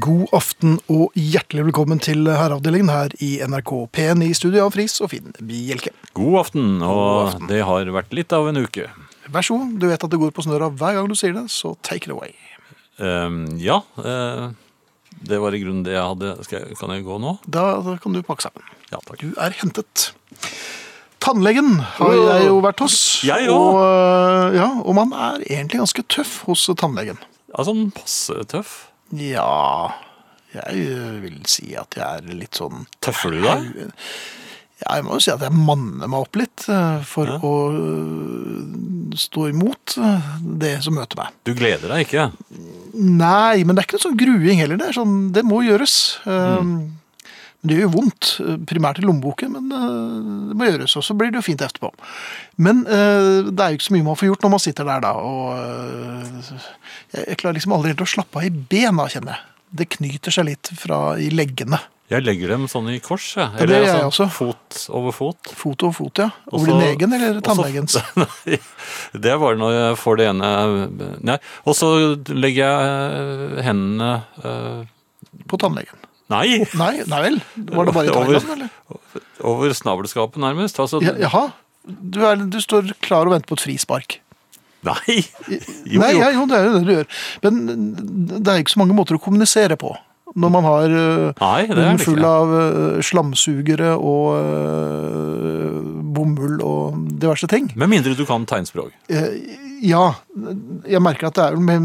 God aften og hjertelig velkommen til Herreavdelingen her i NRK P1 i studio av Friis og Finn Bjelke. God aften, og det har vært litt av en uke. Vær så god, du vet at det går på snøra hver gang du sier det, så take it away. Ehm, ja, eh, det var i grunnen det jeg hadde. Skal jeg, kan jeg gå nå? Da, da kan du pakke sammen. Ja, takk. Du er hentet. Tannlegen har jeg jo vært hos. Jeg også. og, øh, ja, og man er egentlig ganske tøff hos tannlegen. Ja, sånn passe tøff. Ja, jeg øh, vil si at jeg er litt sånn Tøffer du deg? Ja, jeg må jo si at jeg manner meg opp litt eh, for å eh, stå imot eh, det som møter meg. Du gleder deg ikke? Nei, men det er ikke noe sånn gruing heller. Det er sånn, det må gjøres. Eh, Mm. Det gjør jo vondt, eh, primært i lommeboken, men eh, det må gjøres. Og så blir det jo fint etterpå. Men eh, det er jo ikke så mye man får gjort når man sitter der da. Og eh, jeg jeg klarer liksom aldri helt å slappe av i bena, kjenner jeg. Det knyter seg litt fra i leggene. Jeg legger dem sånn i kors, jeg. det gjør jeg sånn også. Fot over fot. Fot over fot, ja. Og Over så- din egen eller og så- tannlegens? Nei, det er bare når jeg får det ene Nei. Og så legger jeg eh, hendene eh, På tannlegen. Nei! Nei, nei vel? Var det bare i Over- Thailand, eller? Over snabelskapet, nærmest. Altså, Ja, jaha. Du, er, du står klar og venter på et frispark. Nei! Jo, nei, jo. Ja, jo, det er jo det du gjør. Men det er ikke så mange måter å kommunisere på. Når man har øh, Nei, det er munnen det full ikke. av øh, slamsugere og øh, bomull og diverse ting. Med mindre du kan tegnspråk. Eh, ja, jeg merker at det er vel med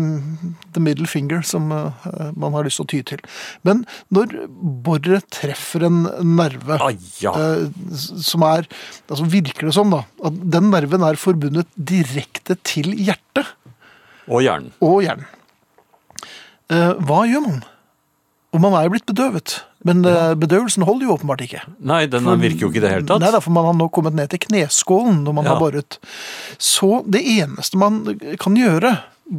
the middle finger som øh, man har lyst til å ty til. Men når boret treffer en nerve Ah, ja. eh, som er altså Virker det som, da, at den nerven er forbundet direkte til hjertet Og hjernen. og hjernen. Eh, Hva gjør man? Og man er jo blitt bedøvet, men eh, bedøvelsen holder jo åpenbart ikke. Nei, den virker jo ikke i det hele tatt. Nei, da, for man har nå kommet ned til kneskålen når man Ja. har boret. Så det eneste man kan gjøre,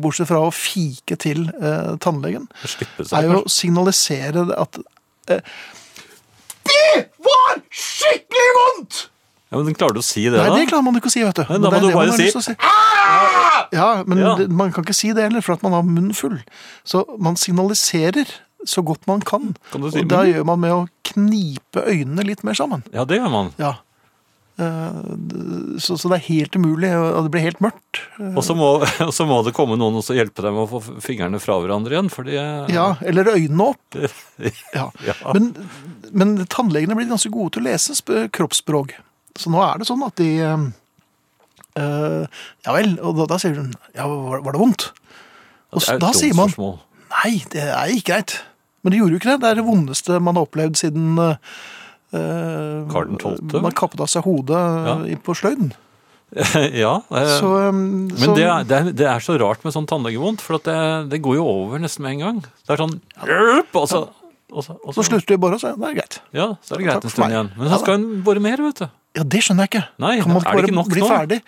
bortsett fra å fike til eh, tannlegen, Slippe seg. er jo å signalisere at Ja, men klarer du å si det, Nei, da? det klarer man ikke å si, vet du. Nei, da Men det er må du det man bare har si, lyst til å Ja, men Ja. Det, man kan ikke si det heller, for at man har munnen full. Så man signaliserer så godt man kan. Kan du si og da munnen? gjør man med å knipe øynene litt mer sammen. Ja, det gjør man. Ja. Eh, d- Så, så det er helt umulig, og og det blir helt mørkt. Og så må, og så må det komme noen og så hjelpe deg med å få fingrene fra hverandre igjen, for det Ja, eller øynene opp. Ja. Ja. Men, men tannlegene blir ganske gode til å lese sp- kroppsspråk. Så nå er det sånn at de eh, eh, Ja vel. Og da, da sier hun Ja, var, var det vondt? Og det er så, et da dumt sier man spørsmål. Nei, det er ikke greit. Men det gjorde jo ikke det. Det er det vondeste man har opplevd siden eh, Karl den tolvte? Man kappet av seg hodet eh, i- på sløyden. ja, eh, Så, eh, men så det, er, det, er, det er så rart med sånn tannlegevondt, for at det, det går jo over nesten med en gang. Det er sånn «Hjelp!» og så, og så, og så slutter de å bore, så det er greit. Ja, så er det Takk greit en for meg. stund igjen. Men Ja så da. skal hun bore mer, vet du. Ja, det skjønner jeg ikke. Nei, kan man er det ikke ikke bare nok bli nå? ferdig?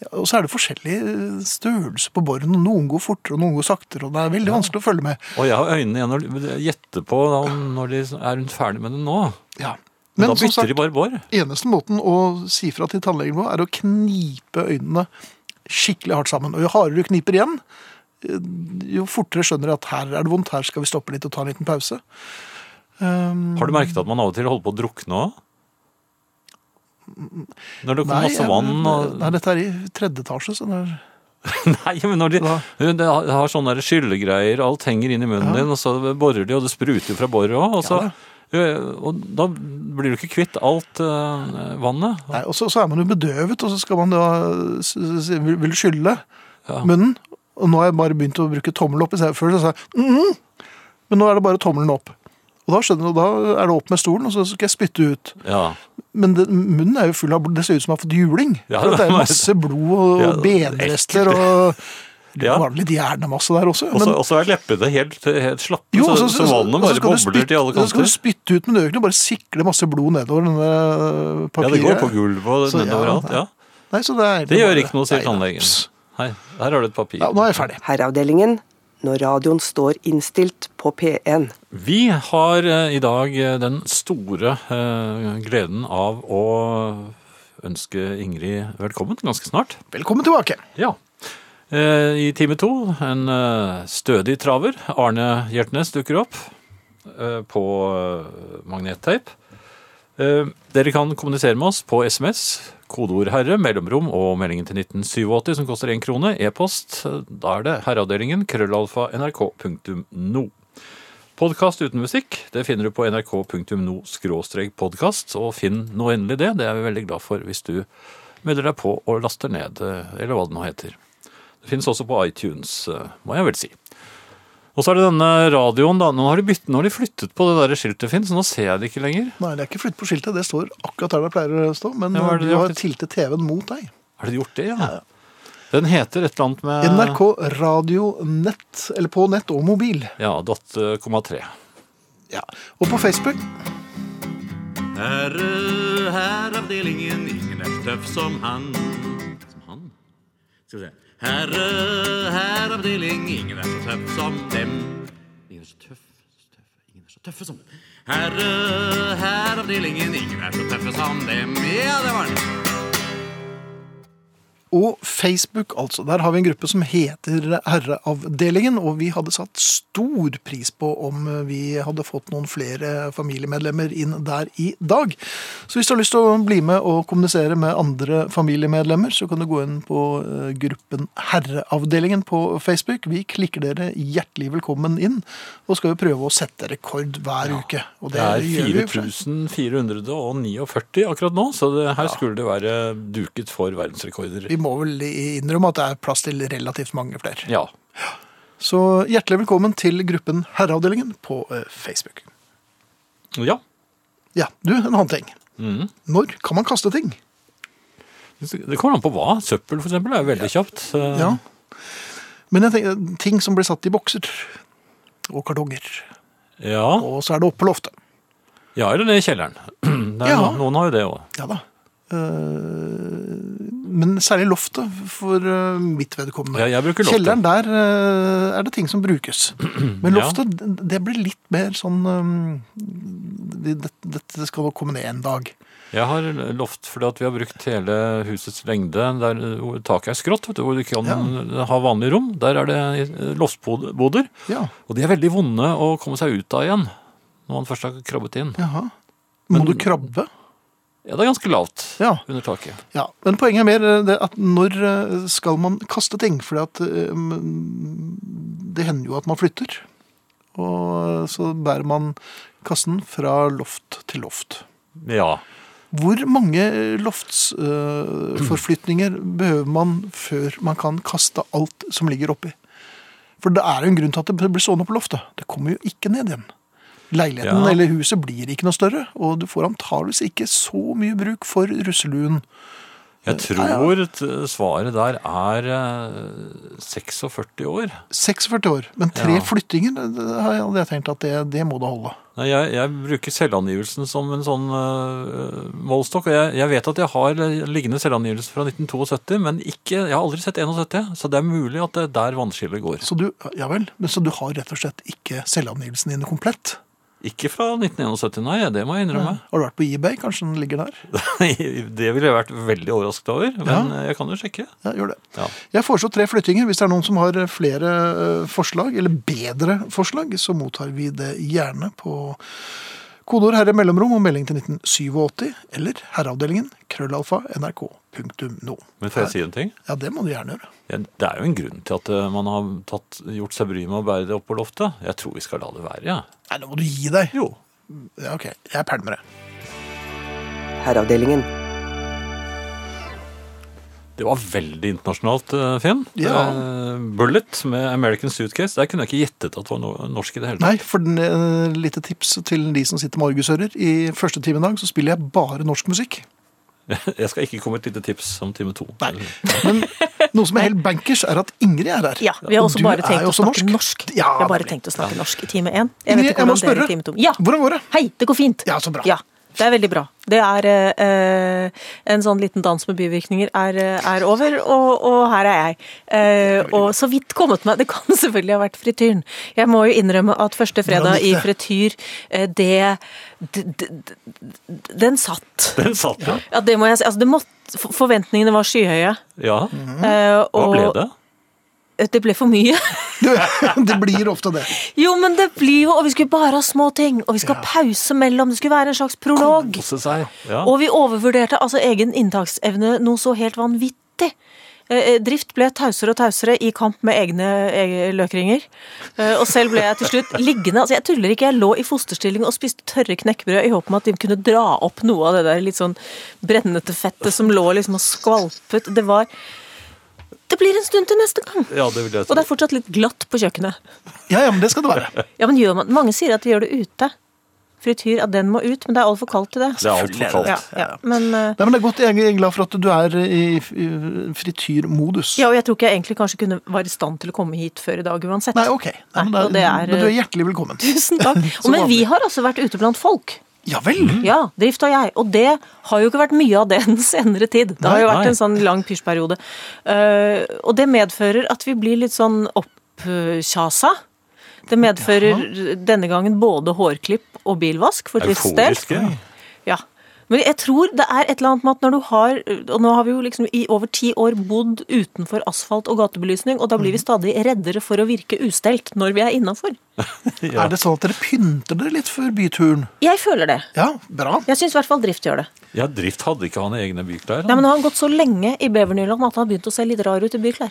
Ja, Og så er det forskjellig eh, størrelse på boren. og Noen går fortere, og noen går saktere. og Det er veldig vanskelig å følge med. Og jeg har øynene igjen og gjetter på om når de er hun ferdig med det nå. Ja. Men, Men da som bytter sagt, de bare bor. eneste måten å si fra til tannlegen på, er å knipe øynene skikkelig hardt sammen. Og jo hardere du kniper igjen, eh, jo fortere skjønner de at her er det vondt, her skal vi stoppe litt og ta en liten pause. Um, Har du merket at man av og til holder på å drukne òg? Når det kommer masse jeg- vann og Nei, dette er i tredje etasje, så det er Nei, men når de Hva? det har- har sånne der skyllegreier, alt henger inn i munnen din, og så borer de, og det spruter jo fra boret òg, og så øh, Og da blir du ikke kvitt alt øh, vannet. Nei, og så, så er man jo bedøvet, og så skal man da s- s- si, vil, vil skylle Ja. munnen. Og nå har jeg bare begynt å bruke tommelen opp. i stedet. Før så sa jeg mm -mm, men nå er det bare tommelen opp. Og da skjønner du, da er det opp med stolen, og så skal jeg spytte ut. Ja. Men det, munnen er jo full av blod. Det ser ut som jeg har fått juling. Ja, for det er det- masse blod og Ja, benrester og Ja. Det var litt hjernemasse der også. Og så- men- og så er leppene helt, helt slappe, Jo, og så, så vannet og så skal bare du bobler spytte- til alle Så skal du kanter. spytte ut med øynene og bare sikle masse blod nedover denne eh, Ja, papiret. det går på gulvet og Så ja, nedover alt. nei. Ja. Nei, så det, er egentlig Det gjør bare- ikke noe, sier Nei, tannlegen. pss. Hei, her har du et papir. Ja, nå er jeg ferdig. Herreavdelingen når radioen står innstilt på P1. Vi har eh, i dag eh, den store eh, gleden av å ønske Ingrid velkommen ganske snart. Velkommen tilbake. Ja. Eh, I time to en eh, stødig traver, Arne Hjertnes, dukker opp. eh, på eh, magnetteip. Eh, Dere kan kommunisere med oss på SMS, kodeord 'herre', mellomrom og meldingen til 1987 som koster én krone. E-post, eh, da er det herreavdelingen krøllalfa nrk.no. Podkast uten musikk det finner du på nrk.no podkast. Og finn nå endelig det. Det er vi veldig glad for hvis du melder deg på og laster ned, eh, eller hva det nå heter. Det finnes også på iTunes, eh, må jeg vel si. Og så er det denne radioen, da. Nå har de, bytt, nå har de flyttet på det der skiltet, Finn, så nå ser jeg det ikke lenger. Nei, det er ikke flytt på skiltet. Det står akkurat der det pleier å stå. Men Ja, hva er det du de har har flyttet? tiltet TV-en mot deg. Har de gjort det, ja? Den heter et eller annet med NRK Radio Nett, eller på nett og mobil. Ja, eh, dot,3. Ja. Og på Facebook. Herre, herreavdelingen, ingen er tøff som han. Som han? Skal vi se. Herre, herreavdeling, ingen er så tøff som dem. Ingen er så tøff, så tøffe, ingen er så tøffe som dem. Herre, herreavdelingen, ingen er så tøffe som dem. Ja, det var den. Og Facebook, altså. Der har vi en gruppe som heter Herreavdelingen, og vi hadde satt stor pris på om vi hadde fått noen flere familiemedlemmer inn der i dag. Så hvis du har lyst til å bli med og kommunisere med andre familiemedlemmer, så kan du gå inn på eh, gruppen Herreavdelingen på Facebook. Vi klikker dere hjertelig velkommen inn, og skal jo prøve å sette rekord hver uke. Og Det er gjør vi jo for seg. 4449 akkurat nå, så det, her skulle det være duket for verdensrekorder. Vi må vel innrømme at det er plass til relativt mange flere. Ja. Så hjertelig velkommen til gruppen Herreavdelingen på eh, Facebook. ja. Ja, du, en annen ting. Mm. Når kan man kaste ting? Det kommer an på hva. Søppel, for eksempel, er veldig kjapt. Eh, Ja. Men jeg tenker, ting som blir satt i bokser og kartonger. ja. Og så er det oppe på loftet. Ja, eller ned i kjelleren. Det er, Ja. no- Noen har jo det òg. Ja da. Eh, Men særlig loftet for eh, mitt vedkommende. Ja, jeg bruker loftet. Kjelleren der eh, er det ting som brukes. Men Ja. loftet, d- det blir litt mer sånn eh, det- det- Dette skal nok komme ned en dag. Jeg har loft fordi at vi har brukt hele husets lengde der hvor taket er skrått, vet du, hvor du ikke kan ha vanlig rom. Der er det eh, loftboder. Ja, Og de er veldig vonde å komme seg ut av igjen når man først har krabbet inn. jaha. Må Men- du krabbe? Ja, det er ganske lavt Ja. under taket. Ja, men poenget er mer eh, det at når eh, skal man kaste ting? Fordi at eh, mm, det hender jo at man flytter. Og eh, så bærer man kassen fra loft til loft. Ja. Hvor mange eh, loftsforflytninger eh, behøver man før man kan kaste alt som ligger oppi? For det er jo en grunn til at det blir stående på loftet. Det kommer jo ikke ned igjen. Leiligheten Ja. eller huset blir ikke noe større, og du får antageligvis ikke så mye bruk for russeluen. Jeg tror t- svaret der er eh, 46 år. 46 år, men tre Ja. flyttinger det- det har jeg hadde jeg tenkt at det, det må da holde. Nei, jeg, jeg bruker selvangivelsen som en sånn uh, målstokk. Og jeg, jeg vet at jeg har liggende selvangivelse fra 1972, men ikke, jeg har aldri sett 71. Så det er mulig at det er der vannskillet går. Så du, ja vel, men så du har rett og slett ikke selvangivelsen din komplett? Ikke fra 1971, nei. Det må jeg innrømme. Har du vært på eBay? Kanskje den ligger der? det ville jeg vært veldig overrasket over, men eh, jeg kan jo sjekke. Ja, gjør det. Ja. Jeg foreslår tre flyttinger. Hvis det er noen som har flere eh, forslag, eller bedre forslag, så mottar vi det gjerne på kodeord herre mellomrom og melding til 1987, eller herreavdelingen krøllalfa nrk.no. Men får jeg si en ting? Ja, det må du gjerne gjøre. Ja, Det er jo en grunn til at eh, man har tatt, gjort seg bry med å bære det opp på loftet. Jeg tror vi skal la det være, ja. Nei, nå må du gi deg. Jo. Ja, ok. Jeg pælmer det. Herreavdelingen. Det var veldig internasjonalt, eh, Finn. Ja. Eh, Bullet med American Suitcase. Der kunne jeg ikke gjettet at det var no- norsk i det hele tatt. Nei, for den, eh, lite tips til de som sitter med argusører. I første time i dag så spiller jeg bare norsk musikk. Jeg skal ikke komme med et lite tips om time to. Nei. Men noe som er helt bankers, er at Ingrid er her. Ja, vi har Og også du bare er tenkt jo å også snakke norsk. Vi Ja, har bare nemlig. tenkt å snakke norsk i time én. Jeg Ingrid, vet ikke jeg må hvordan dere spørre. i time to. Ja. Hvordan går det? Hei, det går fint. Ja, så bra. Ja, det er veldig bra. Det er eh, eh, En sånn liten dans med bivirkninger er, eh, er over, og, og her er jeg. Eh, og så vidt kommet meg Det kan selvfølgelig ha vært frityren. Jeg må jo innrømme at første fredag i gikk frityr, eh, det, d- d- d- d- Den satt. Den satt, ja. Ja, det må jeg si. Altså, det måtte, for- Mm. forventningene var skyhøye. ja. eh, Hva og- ble det? det ble for mye. Du, det blir ofte det. Jo, men det blir jo Og vi skulle bare ha små ting, og vi skal ha pause mellom. Det skulle være en slags prolog. Kose seg. Ja. Og vi overvurderte altså egen inntaksevne noe så helt vanvittig. Eh, eh, Drift ble tausere og tausere i kamp med egne eh, løkringer. Eh, Og selv ble jeg til slutt liggende. altså Jeg tuller ikke, jeg lå i fosterstilling og spiste tørre knekkebrød i håp om at de kunne dra opp noe av det der litt sånn brennete fettet som lå liksom og skvalpet. Det var Det blir en stund til neste gang. ja, det vil jeg Og tro. det er fortsatt litt glatt på kjøkkenet. Ja, ja, men det skal det være. Ja, men gjør man, Mange sier at de gjør det ute. Frityr, at den må ut, men det er altfor kaldt til det. Det er altfor kaldt. Ja, ja. Men, eh, Nei, men det er godt, Jeg er glad for at du er i i frityrmodus. Ja, og jeg tror ikke jeg egentlig kanskje kunne være i stand til å komme hit før i dag uansett. Nei, ok. Nei, men, Nei, det og det er, er- eh, men du er hjertelig velkommen. Tusen takk. Som men vi vanlig. har altså vært ute blant folk. Ja vel. Mm. Ja, Drift og jeg. Og det har jo ikke vært mye av det den senere tid. Det har jo Nei, nei. vært en sånn lang pysjperiode. Eh, og det medfører at vi blir litt sånn oppkjasa. Det medfører denne gangen både hårklipp og bilvask for Drifts del. Euforiske. Ja. Men jeg tror det er et eller annet med at når du har Og nå har vi jo liksom i over ti år bodd utenfor asfalt og gatebelysning, og da Mm. blir vi stadig reddere for å virke ustelt når vi er innafor. Ja. Er det sånn at dere pynter dere litt før byturen? Jeg føler det. Ja, bra. Jeg syns i hvert fall Drift gjør det. ja, Drift hadde ikke han egne byklær. Nei, men nå har han gått så lenge i Bevernyland at han har begynt å se litt rar ut i byklær.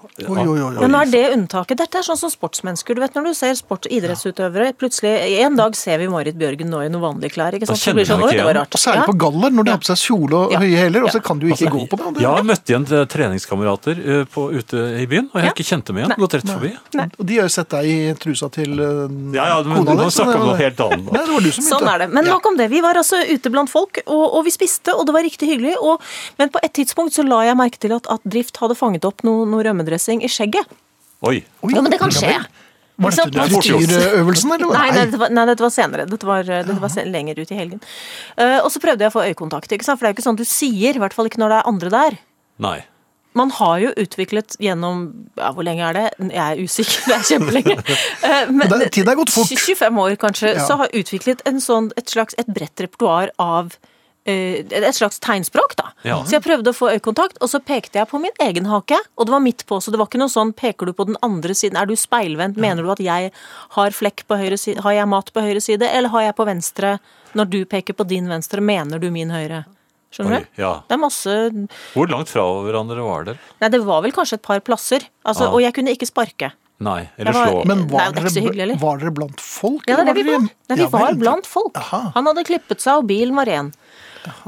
Oi, oi, oi. Men nå er det unntaket. Dette er sånn som sportsmennesker. Du vet når du ser sports- og idrettsutøvere Plutselig en dag ser vi Marit Bjørgen nå i noen vanlige klær. ikke sant? Så kjenner blir det sånn, man ikke Oi, det var igjen. rart. Og særlig på galler, når de har på seg kjole og Ja. høye hæler, og så Ja. Altså, kan du jo ikke gå på hverandre. Ja, jeg møtte igjen eh, treningskamerater eh, på- ute i byen, og jeg Ja. ikke kjente meg igjen. Nei. Gått rett forbi. Nei. Og de har jo sett deg i trusa til eh, Ja, ja, men kona nå di, så det snakker vi om var- noe helt annet. Nei, det var du som Sånn begynte. er det. Men Ja. nok om det. Vi var altså ute blant folk, og, og vi spiste, og det var riktig hyggelig. Og, men på et tidspunkt så la jeg merke til at, at Drift hadde fanget opp noe, noe rømmedressing i skjegget. Oi. Oi, Jo, men det kan ja skje. vel. Var Ikke sant? dette Det er fort gjort. frityrøvelsen, eller? Nei, nei, dette var, nei, dette var senere. Dette var, eh, dette var sen, lenger ut i helgen. Eh, og så prøvde jeg å få øyekontakt, ikke sant? for det er jo ikke sånn du sier. I hvert fall ikke når det er andre der. Nei. Man har jo utviklet gjennom ja, Hvor lenge er det? Jeg er usikker. Det er kjempelenge. Eh, men- Det- tiden er gått fort. 25 år, kanskje. Ja. Så har utviklet en sånn, et slags et bredt repertoar av eh, et slags tegnspråk, da. Ja. Så jeg prøvde å få øyekontakt, og så pekte jeg på min egen hake. Og det var midt på, så det var ikke noe sånn peker du på den andre siden, er du speilvendt, mener du at jeg har flekk på høyre side, har jeg mat på høyre side, eller har jeg på venstre? Når du peker på din venstre, mener du min høyre? Skjønner Oi, du? ja. Det er masse Hvor langt fra hverandre var dere? Nei, det var vel kanskje et par plasser. Altså, Ah. Og jeg kunne ikke sparke. Nei. Eller Jeg var- slå? Men Nei, var, det er ikke så hyggelig, dere, eller? var dere blant folk? Ja, det er eller det vi var. dere- Nei, Ja, vi var vel. blant folk. Aha. Han hadde klippet seg, og bilen var ren.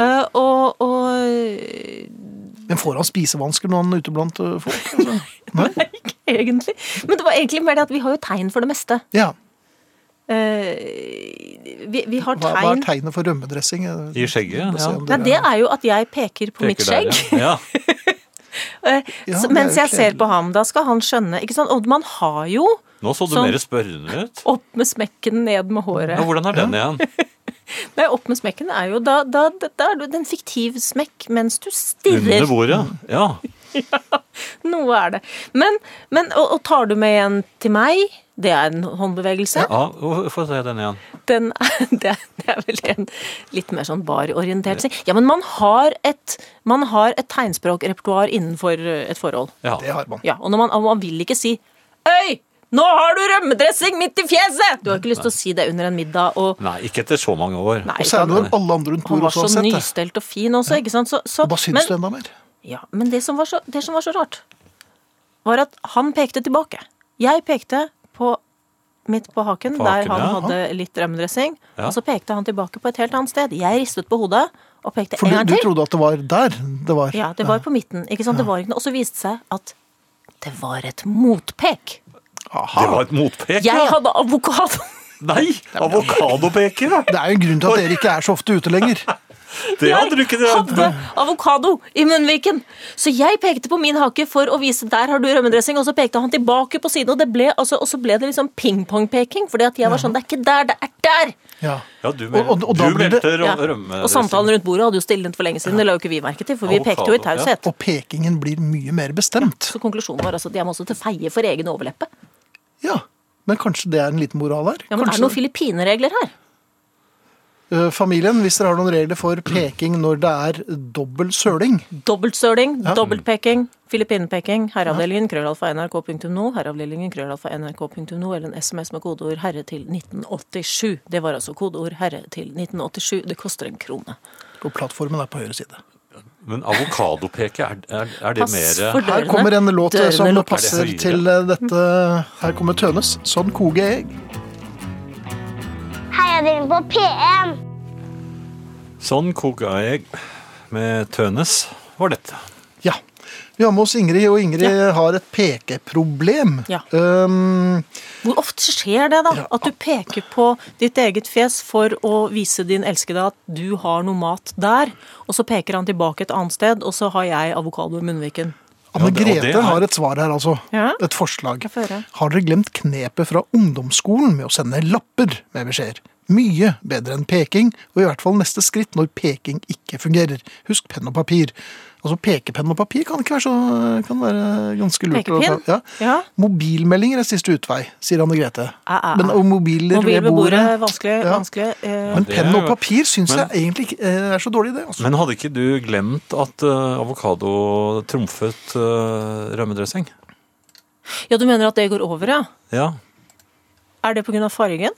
Eh, og, og Men får han spisevansker når han er ute blant eh, folk? Altså? Nei? ikke egentlig. Men det var egentlig mer det at vi har jo tegn for det meste. Ja. Eh, vi, vi har Hva, hva er tegn tegnet for rømmedressing? I skjegget? Se Ja. om Nei, det er jo at jeg peker på mitt Peker skjegg der, ja. Ja. eh, Ja, det så- er mens jo jeg ser kledelig. på ham. Da skal han skjønne. ikke sant? Og man har jo Nå så du Sånn. mer spørrende ut. opp med smekken, ned med håret. Ja, hvordan er den igjen? Nei, opp med smekken er jo da, da, da, da er det en fiktiv smekk mens du Under stirrer. bordet? Ja. Noe er det. Men, men og, og tar du med en til meg? Det er en håndbevegelse. ja. å, Få se den igjen. Den er, det, er- det er vel en litt mer sånn barorientert seg. Ja, men man har et, man har et tegnspråkrepertoar innenfor eh, et forhold. Ja. Det har man. Ja, og når man, og man vil ikke si Øy! Nå har du rømmedressing midt i fjeset! Du har ikke lyst til å si det under en middag og Nei, ikke etter så mange år. Nei, Og særlig når han, alle andre rundt han bordet var også så har sett det. nystelt og fin også, ikke sant? Så, så, Og da syns men- du enda mer. Ja, men det som, var så, det som var så rart, var at han pekte tilbake. Jeg pekte på midt på haken, På der haken, han ja. hadde litt rømmedressing. Ja. Og så pekte han tilbake på et helt annet sted. Jeg ristet på hodet og pekte For en du, gang du til. trodde at det var der det var? Ja, det var på midten. ikke sant? Det var ikke noe. Og så viste det seg at det var et motpek. Det var et motpek, Jeg ja. hadde avokado. Nei! Avokadopeker, ja. Det er jo en grunn til at dere ikke er så ofte ute lenger. Det hadde du ikke Jeg hadde avokado i munnviken. Så jeg pekte på min hake for å vise der har du rømmedressing, og så pekte han tilbake på siden, og, det ble, altså, og så ble det liksom pingpong-peking. Fordi at jeg var sånn, det er ikke der, det er der! Ja. Ja, du, Og- og- og du da blir meldte det- rø- Ja. rømme. Og samtalen rundt bordet hadde jo stilnet for lenge siden, det la jo ikke vi merke til, for vi Avokado, pekte jo i ja. taushet. Og pekingen blir mye mer bestemt. Så konklusjonen var altså at jeg må også til feie for egen overleppe. Ja, Men kanskje det er en liten moral her? Ja, men er det noen Kanskje- filippineregler her? eh, familien hvis dere har noen regler for peking når det er dobbel søling. Dobbeltsøling, dobbeltpeking, filippinepeking, herreavdelingen, krøllalfa nrk.no, herreavdelingen, krøllalfa nrk.no, eller en SMS med kodeord 'herre' til 1987. Det var altså kodeord 'herre' til 1987. Det koster en krone. Og plattformen er på høyre side. Men avokadopeke, er, er, er det Pass for mer Her dørene. kommer en låt eh, Dørene som lukker. passer Er det høyre? til eh, dette. Her kommer Tønes. Sånn koger jeg. Heia dere på P1! Sånn koka jeg med Tønes, var dette. Ja. Vi har med oss Ingrid, og Ingrid har et pekeproblem. Ja. Um, Hvor ofte skjer det, da? At du peker på ditt eget fjes for å vise din elskede at du har noe mat der, og så peker han tilbake et annet sted, og så har jeg avokado i munnviken. Anne det- og det Grete er- har et svar her, altså. Ja. Et forslag. få høre. Har dere glemt knepet fra ungdomsskolen med å sende lapper med beskjeder? Mye bedre enn peking, og i hvert fall neste skritt når peking ikke fungerer. Husk penn og papir. Altså Pekepenn og papir kan ikke være så kan være ganske lurt. å- Pekepinn? Ja. Ja. Mobilmeldinger er siste utvei, sier Anne Grete. Ah, ah, ah. Men og mobiler Mobil ved bordet, vanskelig, Ja. vanskelig. eh, Men det penn er og jo- papir syns Men- jeg egentlig ikke eh, er så dårlig, det. altså. Men hadde ikke du glemt at eh, avokado trumfet eh, rømmedressing? Ja, du mener at det går over, ja? Ja. Er det pga. fargen?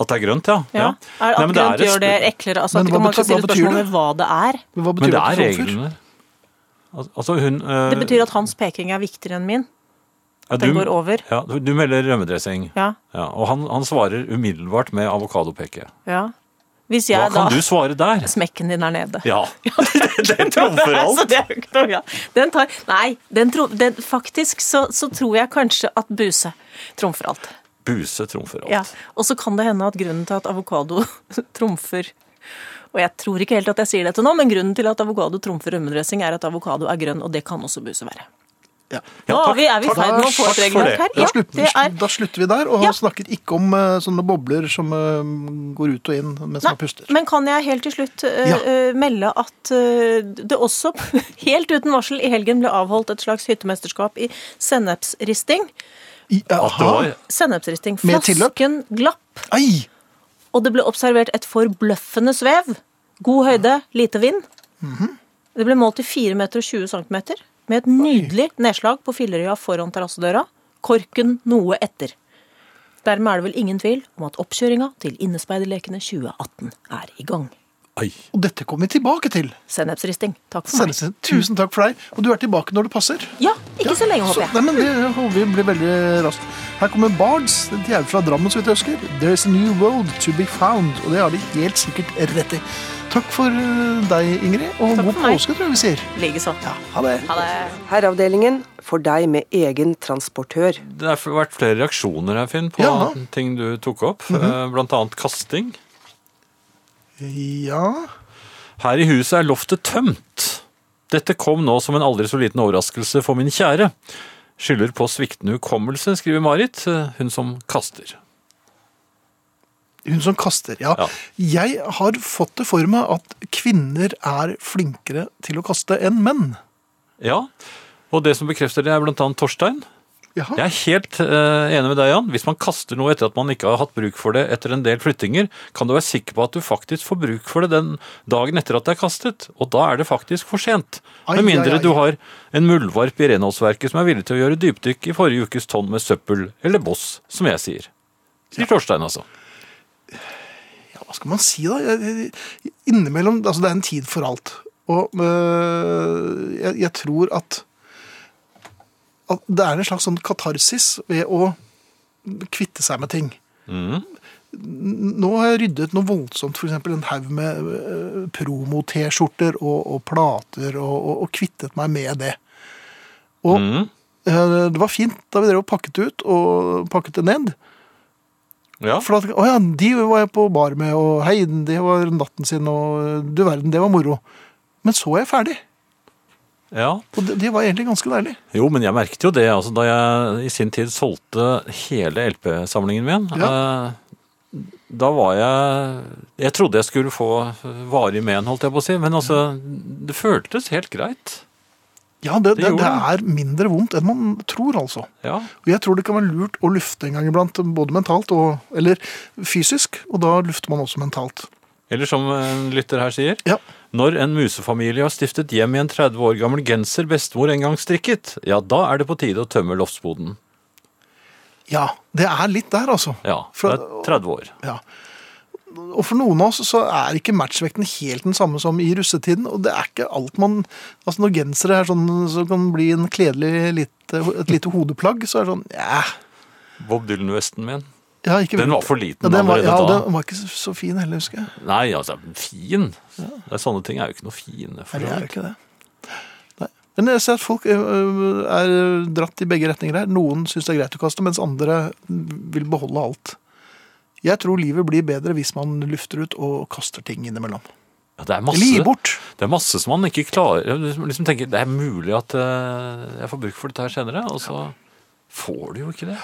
At det er grønt, ja. Ja. Er, at Nei, men det er grønt et gjør det spør- eklere? Altså, Men at hva man kan betyr- hva stille betyr det? spørsmål ved hva det er. Hva betyr Men det at er du trumfer? reglene. Al- Altså hun eh, Det betyr at hans peking er viktigere enn min. ja, den går over. Ja, du, du melder rømmedressing. Ja, Ja, og han, han svarer umiddelbart med avokadopeke. ja. Hvis Hva jeg da kan du svare der? Smekken din er nede. Ja. det trumfer Så alt. det er jo ikke noe, ja. Den tar Nei, den tro, den, faktisk så, så tror jeg kanskje at buse trumfer alt. Buse trumfer alt. Ja. Og så kan det hende at grunnen til at avokado trumfer og jeg tror ikke helt at jeg sier dette nå, men grunnen til at avokado trumfer rømmedressing, er at avokado er grønn, og det kan også buse være. Ja. Ja, Nå takk, er vi- er vi i takk, ferd med å få takk et for det. regelverk her? Da, Ja, slutter, det er- da slutter vi der, og Ja. han snakker ikke om eh, sånne bobler som eh, går ut og inn mens man puster. Men kan jeg helt til slutt eh, Ja. eh, melde at eh, det også, helt uten varsel, i helgen ble avholdt et slags hyttemesterskap i sennepsristing. I- eh, At det Aha. var Sennepsristing. Med tilløp? Flasken glapp, Ei! og det ble observert et forbløffende svev. God høyde, lite vind. Mhm. Det ble målt til 4,20 meter cm, med et nydelig nedslag på Fillerøya foran terrassedøra. Korken noe etter. Dermed er det vel ingen tvil om at oppkjøringa til Innespeiderlekene 2018 er i gang. Ai. Og dette kommer vi tilbake til. Sennepsristing. Takk for meg. Sennesen, tusen takk for deg. Og du er tilbake når det passer. Ja, ikke så lenge, Så, håper jeg. nei, men Det håper vi blir veldig raskt. Her kommer Bards. De er jo fra Drammen, så vidt jeg husker. There is a new world to be found. Og det har de helt sikkert rett i. Takk for eh, deg, Ingrid. Og Takk god for meg. påske, tror jeg vi sier. Likeså. Ja, ha det. Ha det. Herreavdelingen for deg med egen transportør. Det har vært flere reaksjoner her, Finn, på Ja. Mhm. ting du tok opp. Eh, Blant annet kasting. Ja Her i huset er loftet tømt. Dette kom nå som en aldri så liten overraskelse for min kjære. Skylder på sviktende hukommelse, skriver Marit, eh, hun som kaster. Hun som kaster, ja. Ja. Jeg har fått det for meg at kvinner er flinkere til å kaste enn menn. Ja, og det som bekrefter det er blant annet Torstein. Jaha. Jeg er helt eh, enig med deg, Jan. Hvis man kaster noe etter at man ikke har hatt bruk for det etter en del flyttinger, kan du være sikker på at du faktisk får bruk for det den dagen etter at det er kastet. Og da er det faktisk for sent. Ai, ai, Med ai. mindre du har en muldvarp i renholdsverket som er villig til å gjøre dypdykk i forrige ukes tonn med søppel, eller boss, som jeg sier. Sier Torstein, altså. Ja, hva skal man si da? Jeg- jeg- Innimellom, altså det er en tid for alt. Og øh, jeg, jeg tror at, at det er en slags sånn katarsis ved å kvitte seg med ting. N- Nå har jeg ryddet noe voldsomt, f.eks. en haug med øh, promo-T-skjorter og, og plater, og, og, og kvittet meg med det. Og øh, det var fint da vi drev og pakket det ut, og pakket det ned. Ja. For at, å ja, de var jeg på bar med, og hei, det var natten sin, og du verden, det var moro. Men så er jeg ferdig, ja. og det, det var egentlig ganske deilig. Jo, men jeg merket jo det. Altså, da jeg i sin tid solgte hele LP-samlingen min, eh, da var jeg Jeg trodde jeg skulle få varig men, holdt jeg på å si. Men altså, det føltes helt greit. Ja, det, Det det, det gjorde er mindre vondt enn man tror, altså. Ja. Og jeg tror det kan være lurt å lufte en gang iblant, både mentalt og eller fysisk, og da lufter man også mentalt. Eller som en lytter her sier Ja. Når en musefamilie har stiftet hjem i en 30 år gammel genser bestemor en gang strikket, ja, da er det på tide å tømme loftsboden. Ja, det er litt der, altså. Ja, For- det er 30 år. Ja. Og for noen av oss så er ikke matchvekten helt den samme som i russetiden. Og det er ikke alt man Altså når gensere er sånn som kan bli en kledelig lite, et lite hodeplagg, så er det sånn ja, Bob Dylan-vesten min. ja ikke Den vel- var for liten ja, den var, ja, allerede da. den var ikke så- så fin heller, husker jeg. Nei, altså, fin. Det er sånne ting er jo ikke noe fine. For Nei, det er jo øvrig. ikke det. Nei. Men jeg ser at folk ø, ø, er dratt i begge retninger her. Noen syns det er greit å kaste, mens andre vil beholde alt. Jeg tror livet blir bedre hvis man lufter ut og kaster ting innimellom. ja, det, er Eller gir masse, bort. det er masse som man ikke klarer liksom, liksom tenker, Det er mulig at eh, jeg får bruk for dette her senere, og så får du jo ikke det.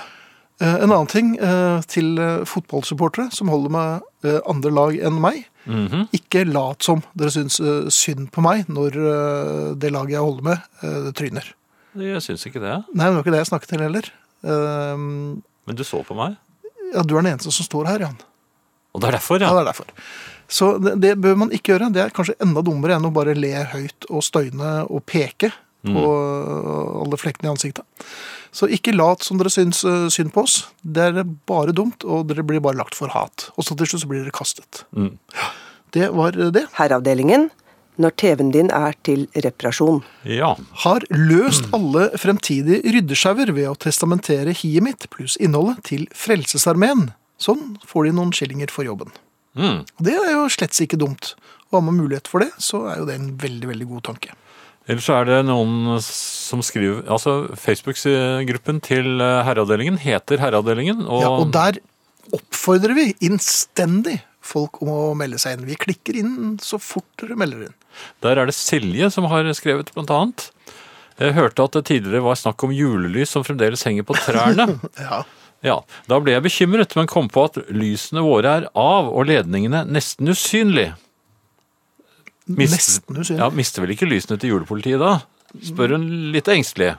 Eh, En annen ting eh, til eh, fotballsupportere som holder med eh, andre lag enn meg. Mhm. Ikke lat som dere syns eh, synd på meg når eh, det laget jeg holder med, eh, tryner. Jeg syns ikke det. Nei, det var ikke det jeg snakket til heller. Eh, Men du så på meg. Ja, du er den eneste som står her, Jan. Og det er derfor, Ja, ja. det er derfor. Så det, det bør man ikke gjøre. Det er kanskje enda dummere enn å bare le høyt og støyne og peke på alle flekkene i ansiktet. Så ikke lat som dere syns eh, synd på oss. Det er bare dumt, og dere blir bare lagt for hat. Og så til slutt så blir dere kastet. Mm. Det var eh, det. Herreavdelingen når TV-en din er til reparasjon. ja. Har løst alle fremtidige ryddesjauer ved å testamentere hiet mitt pluss innholdet til Frelsesarmeen. Sånn får de noen skillinger for jobben. Mm. Og Det er jo slett ikke dumt. Og har man mulighet for det, så er jo det en veldig, veldig god tanke. Ellers er det noen som skriver Altså, Facebook-gruppen til eh, Herreavdelingen heter Herreavdelingen. Og, Ja, og der oppfordrer vi innstendig folk om å melde seg inn. Vi klikker inn så fort dere melder inn. Der er det Silje som har skrevet blant annet. Jeg hørte at det tidligere var snakk om julelys som fremdeles henger på trærne. Ja. Ja, Da ble jeg bekymret, men kom på at lysene våre er av og ledningene nesten usynlige. Mist- Nesten Ja, usynlig. Mister vel ikke lysene til julepolitiet da? Spør hun litt engstelig.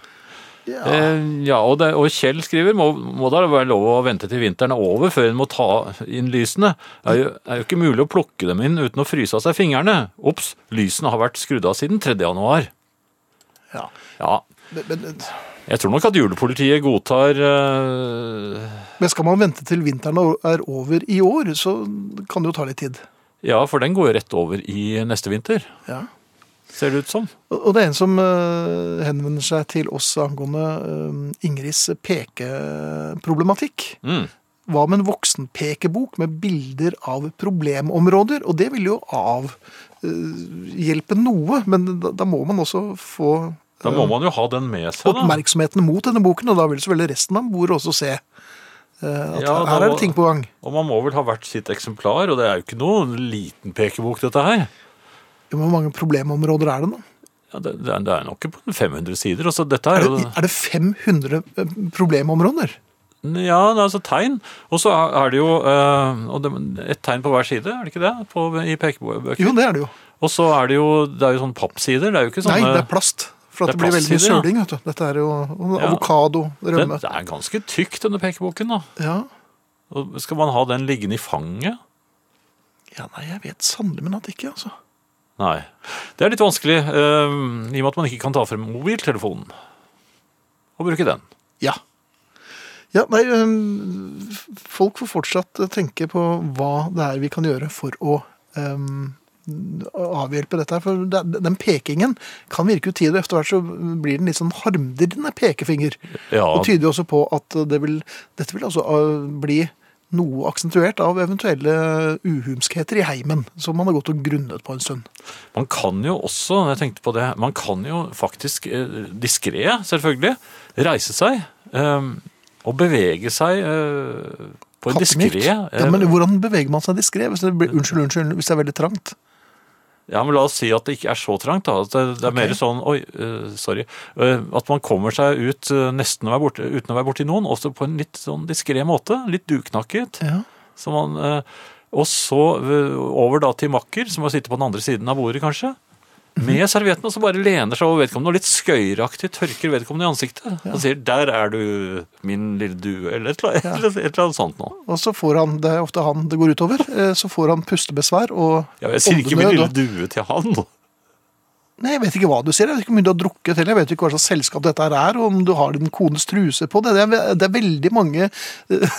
Ja. Eh, ja, og, det, og Kjell skriver må, må da være lov å vente til vinteren er over før en må ta inn lysene. Det er, jo- er jo ikke mulig å plukke dem inn uten å fryse av seg fingrene. Ops, lysene har vært skrudd av siden 3. januar. Ja. Ja, Men, men, jeg tror nok at julepolitiet godtar eh, men skal man vente til vinteren er over i år, så kan det jo ta litt tid. Ja, for den går jo rett over i neste vinter, Ja. ser det ut som. Og og det er en som eh, henvender seg til oss angående eh, Ingrids pekeproblematikk. Mm. Hva med en voksenpekebok med bilder av problemområder? Og det vil jo avhjelpe noe, men da, da må man også få Da må man jo ha den med seg, da. oppmerksomheten mot denne boken, og da vil selvfølgelig resten av bordet også se eh, at Ja, da her er må- det ting på gang. Og man må vel ha hvert sitt eksemplar, og det er jo ikke noen liten pekebok, dette her. Ja, men Hvor mange problemområder er det nå? Ja, det, det er- det er nok ikke på 500 sider. Altså, dette er Er jo det, er det 500 problemområder? Ja, det er altså tegn. Og så er er det jo eh, og det, et tegn på hver side, er det ikke det? På, I pekebøker. Jo, det er det jo. Og så er det jo det er jo sånn pappsider. Det er jo ikke sånne Nei, det er plast. For at det, det er blir veldig mye plastsider, ja. søling. vet du. Dette er jo og Ja. avokado, rømme. det, det er ganske tykk, denne pekeboken, da. Ja. Og skal man ha den liggende i fanget? ja, nei, jeg vet sannelig, men at ikke, altså. Nei. Det er litt vanskelig, eh, i og med at man ikke kan ta frem mobiltelefonen og bruke den. Ja. Ja, nei, øhm, folk får fortsatt eh, tenke på hva det er vi kan gjøre for å øhm, avhjelpe dette her. For det- den pekingen kan virke utidig, og etter hvert så blir den litt sånn harmdirrende pekefinger. Ja, Og tyder jo også på at det vil, dette vil altså øh, bli noe aksentuert av eventuelle uhumskheter i heimen, som man har gått og grunnet på en stund. Man kan jo også, jeg tenkte på det, man kan jo faktisk eh, diskré, selvfølgelig, reise seg eh, og bevege seg eh, på en Kattemilk. diskré eh, Ja, men hvordan beveger man seg diskré? Hvis det blir, unnskyld, unnskyld, hvis det er veldig trangt. Ja, men la oss si at det ikke er så trangt, da. At det, det er mer sånn Oi, eh, sorry. eh, at man kommer seg ut eh, nesten å være borte, uten å være borti noen, også på en litt sånn diskré måte. Litt duknakket. Ja. Så man, eh, og så eh, over da til makker, som må sitte på den andre siden av bordet, kanskje. med servietten, og så bare lener seg over vedkommende og litt skøyeraktig tørker vedkommende i ansiktet. Og sier 'der er du, min lille due', eller et eller annet, et eller annet sånt nå. Og så får han, det er ofte han det går utover, eh, så får han pustebesvær og Ja, jeg sier ikke min åndenød, lille og- due til han. Nei, jeg vet ikke hva du ser, jeg vet ikke om du har drukket heller, jeg vet ikke hva slags selskap dette her er, og om du har din kones truse på det. Det er, ve- det er veldig mange eh,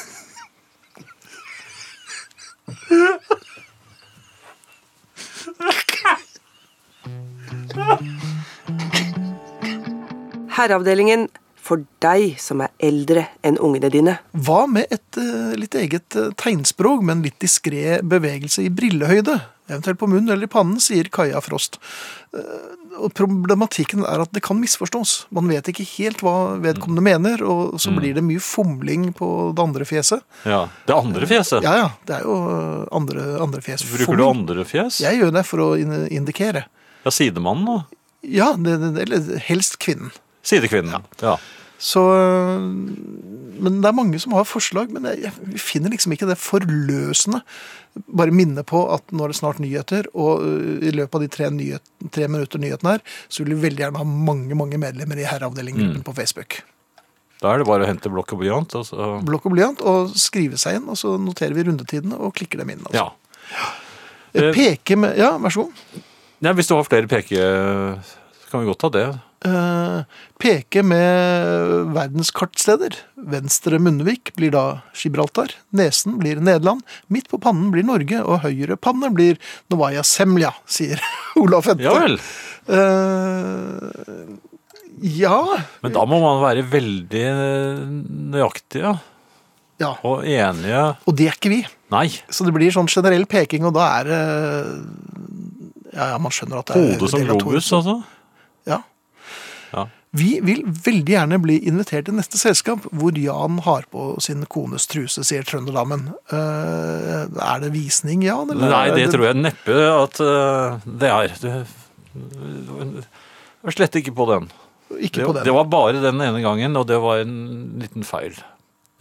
Herreavdelingen for deg som er eldre enn ungene dine. Hva med et eh, litt eget eh, tegnspråk, men litt diskré bevegelse i brillehøyde? Eventuelt på munnen eller i pannen, sier Kaja Frost. Eh, Og problematikken er at det kan misforstås. Man vet ikke helt hva vedkommende Mm. mener, og så blir det mye fomling på det andre fjeset. Ja, Det andre fjeset. Ja, ja, det er jo eh, andre, andre fjes. Bruker du andre fjes? Jeg gjør det for å in- indikere. Ja, sidemannen da. Ja, det, det, eller helst kvinnen. Sidekvinnen. Ja. Så, øh, men det er mange som har forslag, men jeg, jeg finner liksom ikke det forløsende. Bare minne på at nå er det snart nyheter, og øh, i løpet av de tre, nyhet, tre minutter nyheten her, så vil vi veldig gjerne ha mange mange medlemmer i Mm. herreavdelingen på Facebook. Da er det bare å hente blokk og blyant. og så- Blokk og blyant, og skrive seg inn, og så noterer vi rundetidene og klikker dem inn. Altså. Ja. Eh, Peke med Ja, vær så god. Nei, hvis du har flere peke, så kan vi godt ta det. Eh, peke med verdenskartsteder. Venstre Munnvik blir da Gibraltar, nesen blir Nederland, midt på pannen blir Norge, og høyre panne blir Novaya Semlja, sier Olaf Hente. Ja vel. Eh, ja. Men da må man være veldig nøyaktige ja. og enige. Og det er ikke vi. Nei, Så det blir sånn generell peking, og da er det ja, ja, man skjønner at det er hodet som del av to. globus, altså. Ja. Ja. Vi vil veldig gjerne bli invitert til neste selskap hvor Jan har på sin kones truse, sier trønderdammen. Eh, er det visning, Jan? eller Nei, er det tror jeg neppe at eh, det er. Du, du var slett ikke på den. Ikke Det, på den. det var bare den ene gangen, og det var en liten feil.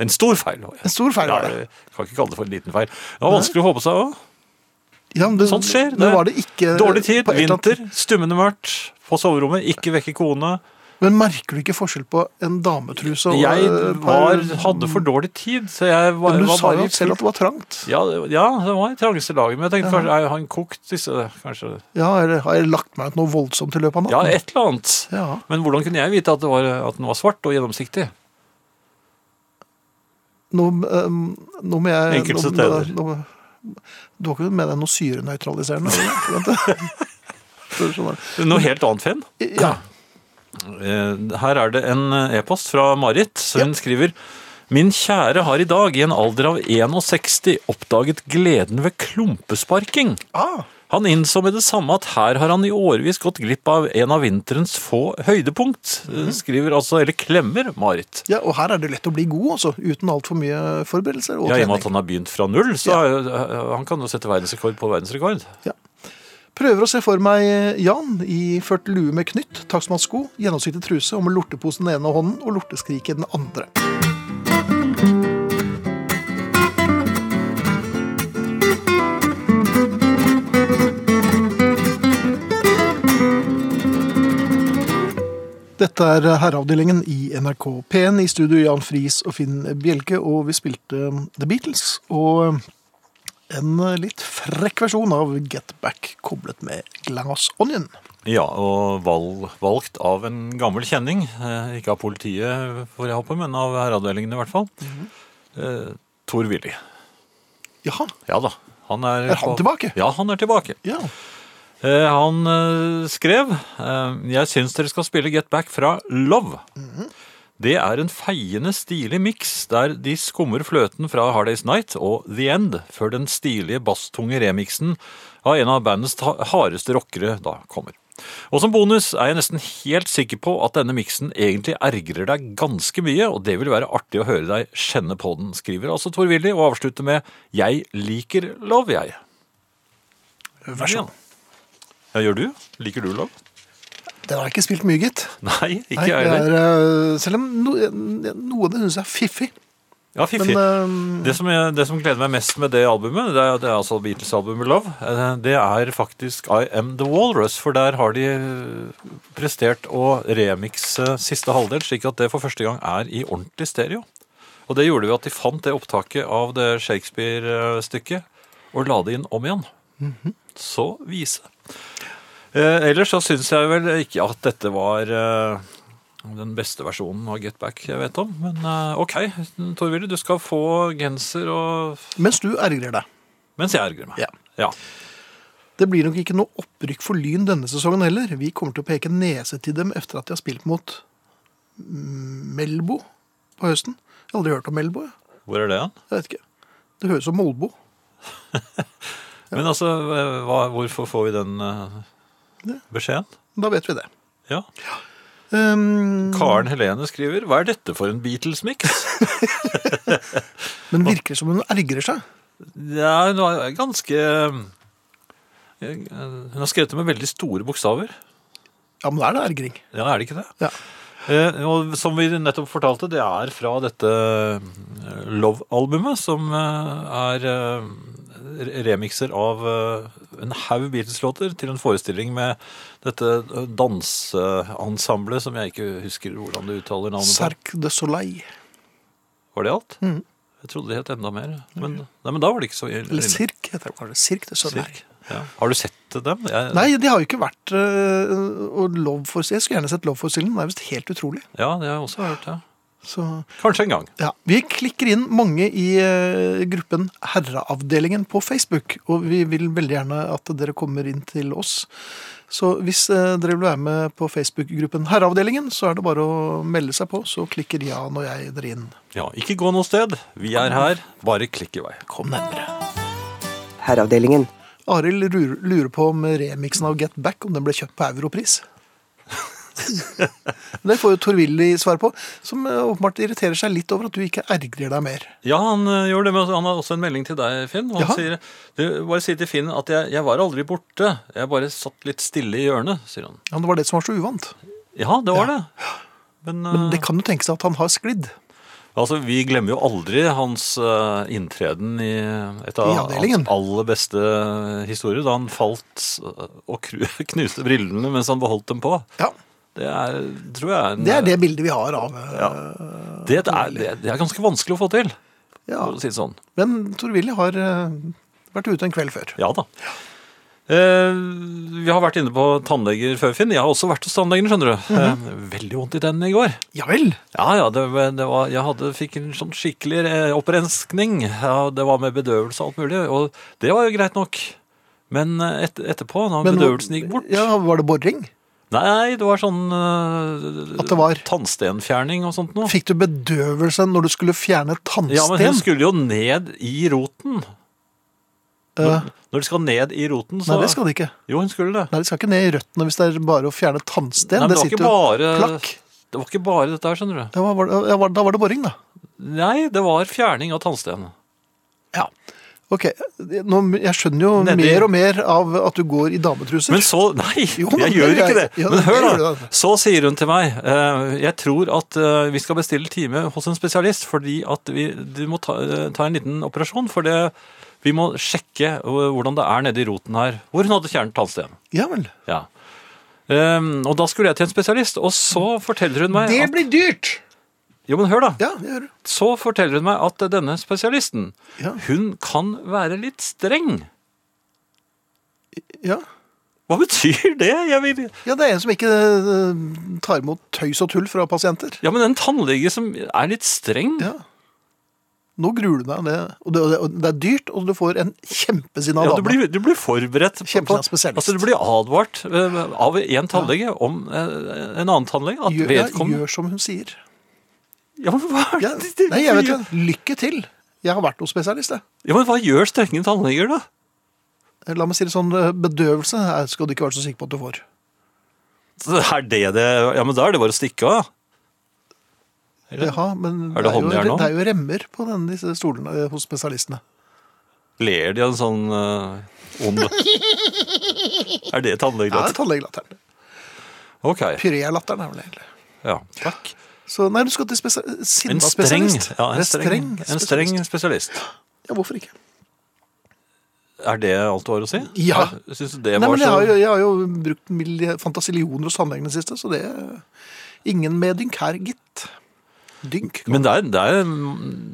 En stor feil. var En jeg. stor feil Ja, var det. jeg kan ikke kalle det for en liten feil. Det var vanskelig å få på seg òg. Ja, men det- Sånt skjer. Men var det ikke Dårlig tid, Eh, på et eller annet- vinter, stummende mørkt. På soverommet, ikke vekke kone. Men merker du ikke forskjell på en dametruse og eh, Jeg et par- var, hadde for dårlig tid, så jeg var, Men du var sa bare jo i selv at fullt- det var trangt. ja, det- ja, det var i trangeste laget, men jeg tenkte kanskje, har han kokt disse, kanskje? Ja, eller har jeg lagt meg ut noe voldsomt i løpet av Ja, natten? et eller annet. Ja. Men hvordan kunne jeg vite at, det var, at den var svart og gjennomsiktig? Nå, ehm, nå må jeg Enkelte nå- steder. nå- Du har ikke med deg noe syrenøytraliserende? eller? Vent, da. Noe helt annet, Finn. sånn Ja. Eh, Her er det en eh, e-post fra Marit. Så hun skriver Min kjære har i dag, i en alder av 61, oppdaget gleden ved klumpesparking. Ah, Han innså med det samme at her har han i årevis gått glipp av en av vinterens få høydepunkt, Mhm. eh, skriver altså, eller klemmer, Marit. ja, og her er det lett å bli god, altså. Uten altfor mye forberedelser og Ja, I og med trening. at han har begynt fra null, så er jo- eh, han kan jo sette verdensrekord på verdensrekord. Prøver å se for meg eh, Jan i ført lue med knytt, takstmannssko, gjennomsiktig truse og med lortepose i den ene hånden og lorteskrik i den andre. Dette er herreavdelingen i NRK P1 i studio Jan Friis og Finn Bjelke, og vi spilte The Beatles og en litt frekk versjon av Get Back koblet med Glass Onion. Ja, og valg, valgt av en gammel kjenning. Eh, ikke av politiet, får jeg håpe, men av herreavdelingen i hvert fall. eh, Tor Willy. Jaha, Ja da. Han er, Er han tilbake? Ja, han er tilbake. ja. Eh, Han eh, skrev eh, Jeg syns dere skal spille Get Back fra Love. Det er en feiende stilig miks der de skummer fløten fra Hard Days Night og The End før den stilige basstunge remiksen av en av bandets ta- hardeste rockere da kommer. Og som bonus er jeg nesten helt sikker på at denne miksen egentlig ergrer deg ganske mye, og det vil være artig å høre deg kjenne på den, skriver altså Tor Willy, og avslutter med 'Jeg liker Love, jeg'. Vær så god. Ja, gjør du? Liker du Love? Den har jeg ikke spilt mye, gitt. Nei, ikke Nei, jeg det heller. eh, er, eh, selv om no, noe av det synes jeg er fiffig. Ja, fiffig. Men, det, som jeg, det som gleder meg mest med det albumet, det er, det er altså Beatles-albumet Love, eh, det er faktisk I Am The Walrus, for der har de eh, prestert å remikse siste halvdel, slik at det for første gang er i ordentlig stereo. Og det gjorde vi at de fant det opptaket av det Shakespeare-stykket, og la det inn om igjen. Mhm. Så vise. Eh, ellers så syns jeg vel ikke at dette var eh, den beste versjonen av Get Back jeg vet om. Men eh, OK, Torvile, du skal få genser og Mens du ergrer deg. Mens jeg ergrer meg. Ja. Ja. Det blir nok ikke noe opprykk for Lyn denne sesongen heller. Vi kommer til å peke nese til dem etter at de har spilt mot mm, Melbo på høsten. Jeg har aldri hørt om Melbo. jeg. Hvor er det hen? Jeg vet ikke. Det høres ut som Molbo. Men altså, eh, hva, hvorfor får vi den eh, beskjeden? Da vet vi det. Ja. Um, Karen Helene skriver Hva er dette for en Beatles-miks? men virker det som hun ergrer seg? Ja, hun var ganske eh, Hun har skrevet det med veldig store bokstaver. Ja, men da er det ergring. Ja, er det ikke det? Ja. Eh, og som vi nettopp fortalte, det er fra dette eh, Love-albumet, som eh, er eh, re- remikser av eh, en haug Beatles-låter til en forestilling med dette eh, danseensemblet som jeg ikke husker hvordan du uttaler navnet på. Cerque de Soleil. Var det alt? Jeg trodde det het enda mer. Men, nei, men da var det ikke så Mm. Eller Cirque, heter det kanskje. Cirque de Soleil. Cirque, Ja. Har du sett dem? Jeg, Nei, de har jo ikke vært øh, og Love-forestillingen. Jeg skulle gjerne sett Love-forestillingen. men Det er visst helt utrolig. Ja, det har jeg også hørt. Ja. Så Kanskje en gang. Ja, Vi klikker inn mange i eh, gruppen Herreavdelingen på Facebook. Og vi vil veldig gjerne at dere kommer inn til oss. Så hvis eh, dere vil være med på Facebook-gruppen Herreavdelingen, så er det bare å melde seg på, så klikker Jan og jeg dere inn. Ja, ikke gå noe sted. Vi er her. Bare klikk i vei. Kom nærmere. Herreavdelingen. Arild lurer lurer på om remiksen av Get Back om den ble kjøpt på europris. Det får jo Torvilli svar på, som eh, åpenbart irriterer seg litt over at du ikke ergrer deg mer. Ja, han ø, gjør det. Men han har også en melding til deg, Finn. Han Jaha. sier du, bare si til Finn at jeg, jeg var aldri borte. Jeg bare satt litt stille i hjørnet, sier han. Ja, Det var det som var så uvant. Ja, det var det. Men, ø, Men det kan jo tenkes at han har sklidd. altså, vi glemmer jo aldri hans ø, inntreden i et I av avdelingen. hans aller beste eh, historier, da han falt ø, og kru- knuste brillene mens han beholdt dem på. Ja, Det er, tror jeg en- Det er det bildet vi har av eh, Ja. Det, det, er, det, det er ganske vanskelig å få til, ja. for å si det sånn. Men Tor-Willy har eh, vært ute en kveld før. Ja da. Eh, vi har vært inne på tannleger før, Finn. Jeg har også vært hos tannlegen, skjønner du. Mhm. eh, veldig vondt i tennene i går. Ja vel! Ja, ja, det, det var, jeg hadde, fikk en sånn skikkelig eh, opprenskning. Ja, det var med bedøvelse og alt mulig, og det var jo greit nok. Men eh, et, etterpå, da Men- bedøvelsen gikk bort Ja, Var det boring? Nei, det var sånn eh, At det var- tannstenfjerning og sånt noe. Fikk du bedøvelse når du skulle fjerne tannsten? Ja, men hun skulle jo ned i roten. Eh, Når de skal ned i roten, så nei, det skal det ikke. Jo, hun skulle det. Nei, Det skal ikke ned i røttene hvis det er bare å fjerne tannsten. Nei, men det det, sitter var jo ikke bare, plakk. det var ikke bare dette her, skjønner du. Ja, hva var det, ja, var- da var det boring, da. Nei, det var fjerning av tannsten. Ja. Ok, Nå, jeg skjønner jo Nedi- mer og mer av at du går i dametruser. Men så Nei, Jo, men jeg det gjør gjør ikke det. jeg. Ja, men det hør, gjør da. du da. Så sier hun til meg eh, Jeg tror at eh, vi skal bestille time hos en spesialist, fordi at vi, du må ta, eh, ta en liten operasjon. For det, vi må sjekke eh, hvordan det er nede i roten her. Hvor hun hadde fjernet tannsten. Ja vel. Ja. Ehm, og da skulle jeg til en spesialist, og så forteller hun meg Det at, blir dyrt! Jo, men hør, da. Ja, jeg hører. så forteller hun meg at eh, denne spesialisten, Ja. hun kan være litt streng. Ja. Hva betyr det? Jeg vil... ja, det er en som ikke eh, tar imot tøys og tull fra pasienter. Ja, men en tannlege som er litt streng? Ja. Nå gruer du deg. Det, og det, og det er dyrt, og du får en kjempesinna Ja, dame. du blir, du blir forberedt. på- Kjempe- på- spesialist. Altså, du blir advart eh, av en tannlege om eh, en annen tannlege. At gjør, ja, vedkommende... gjør som hun sier. Ja, men hva er Ja, det- det- nei, jeg vet ikke. Lykke til. Jeg har vært hos spesialist, jeg. Ja, men hva gjør strenge tannleger da? La meg si det sånn, eh, bedøvelse eh, skal du ikke være så sikker på at du får. Så er det det... Ja, men da er det bare å stikke av. Eller? Jaha, men Er det jo- håndjern nå? det er jo remmer på denne, disse stolene eh, hos spesialistene. Ler de av en sånn eh, ond... er det Ja, tannlegelatt? tannlegelatteren. Ok. Pyrélatteren er vel det egentlig. Ja, takk. Så nei, du skal til spesa- En streng, Sinna-spesialist. ja, en En streng, en streng spesialist. spesialist. Ja, hvorfor ikke? Er det alt du har å si? Ja. Syns du det Nei, var men jeg så har, jo, jeg har jo brukt milli- fantasillioner hos tannlegen i det siste, så det er Ingen medynk her, gitt. Dynk. Men det er, det er,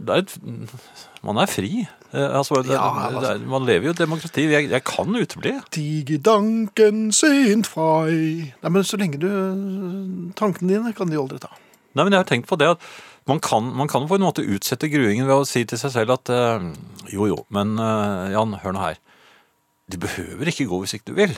det er et- Man er fri. Eh, Altså, det, Ja, det er, man lever jo i et demokrati. Jeg, jeg kan utebli. Dig i danken sind frei Nei, men så lenge du eh, Tankene dine kan de aldri ta. Nei, men jeg har tenkt på det at man kan, man kan på en måte utsette gruingen ved å si til seg selv at eh, jo, jo, men eh, Jan, hør nå her. Du behøver ikke gå hvis ikke du vil.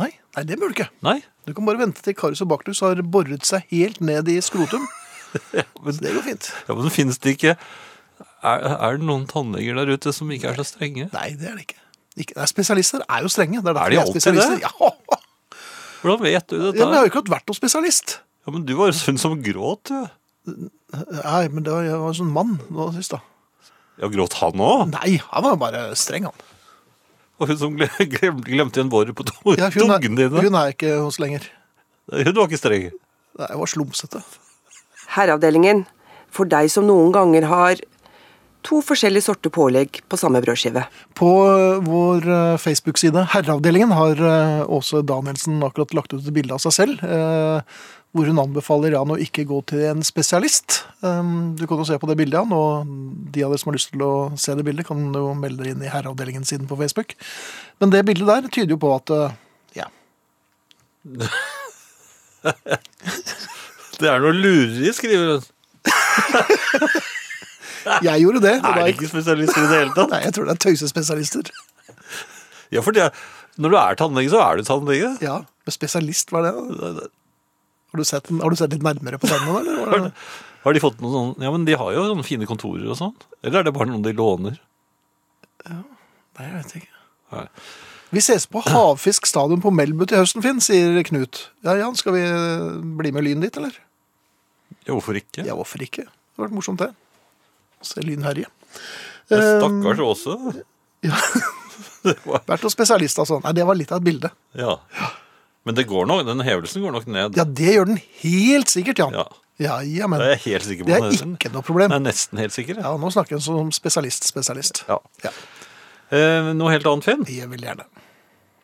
Nei, nei det bør du ikke. Nei. Du kan bare vente til Karius og Baktus har boret seg helt ned i skrotum. Så det går fint. Ja, men finnes det ikke er, er det noen tannleger der ute som ikke er så strenge? Nei, det er det ikke. ikke nei, spesialister er jo strenge. Det er, derfor de vi alltid spesialister. det? Ja. Hvordan vet du ja, men dette? jeg Ja, har jo ikke hatt vært noen spesialist. men du var jo sånn som gråt, du. Nei, men det var, jeg var en sånn mann nå sist, da. Ja, gråt han òg? Nei, han var bare streng, han. Og hun som gle- glem, glemte igjen boret på to- Ja, hun, er, tungen dine. hun er ikke hos lenger. Hun var ikke streng. Nei, Jeg var slumsete. Herreavdelingen, for deg som noen ganger har to forskjellige sorter pålegg på samme brødskive. På eh, vår eh, Facebook-side Herreavdelingen har eh, Åse Danielsen akkurat lagt ut et bilde av seg selv. eh, Hvor hun anbefaler Jan å ikke gå til en spesialist. Um, Du kan jo se på det bildet, Jan, og de av dere som har lyst til å se det bildet, kan jo melde dere inn i Herreavdelingen-siden på Facebook. Men det bildet der tyder jo på at eh, ja, Det er noe lureri, skriver hun. jeg gjorde det. Er var det ikke spesialister i det hele tatt? Nei, jeg tror det er tøysespesialister. Ja, for det, er- når du er tannlege, så er du tannlege. Ja, men spesialist, hva er det? Har du sett, den- har du sett litt nærmere på tennene, eller? Var det- Har de fått noen sånn Ja, men de har jo sånne fine kontorer og sånn. Eller er det bare noen de låner? Nei, jeg vet ikke. Nei. Vi ses på Havfisk stadion på Melbu til høsten, Finn, sier Knut. Ja, Jan, skal vi eh, bli med Lyn dit, eller? Ja, hvorfor ikke? Ja, hvorfor ikke? Det hadde vært morsomt, det. Å Se Lyn herje. Eh, Men Stakkars Åse. Ja. Det var, Vært noen spesialist, altså. Nei, det var litt av et bilde. ja. Men det går nok, den hevelsen går nok ned. Ja, det gjør den helt sikkert, Jan. Ja. Ja, jamen. Det er jeg helt sikker på. Det er nesten. ikke noe Jeg problem. er nesten helt sikker. Ja. Ja, nå snakker jeg som spesialist-spesialist. Ja. Ja, Eh, noe helt annet, Finn. jeg vil gjerne.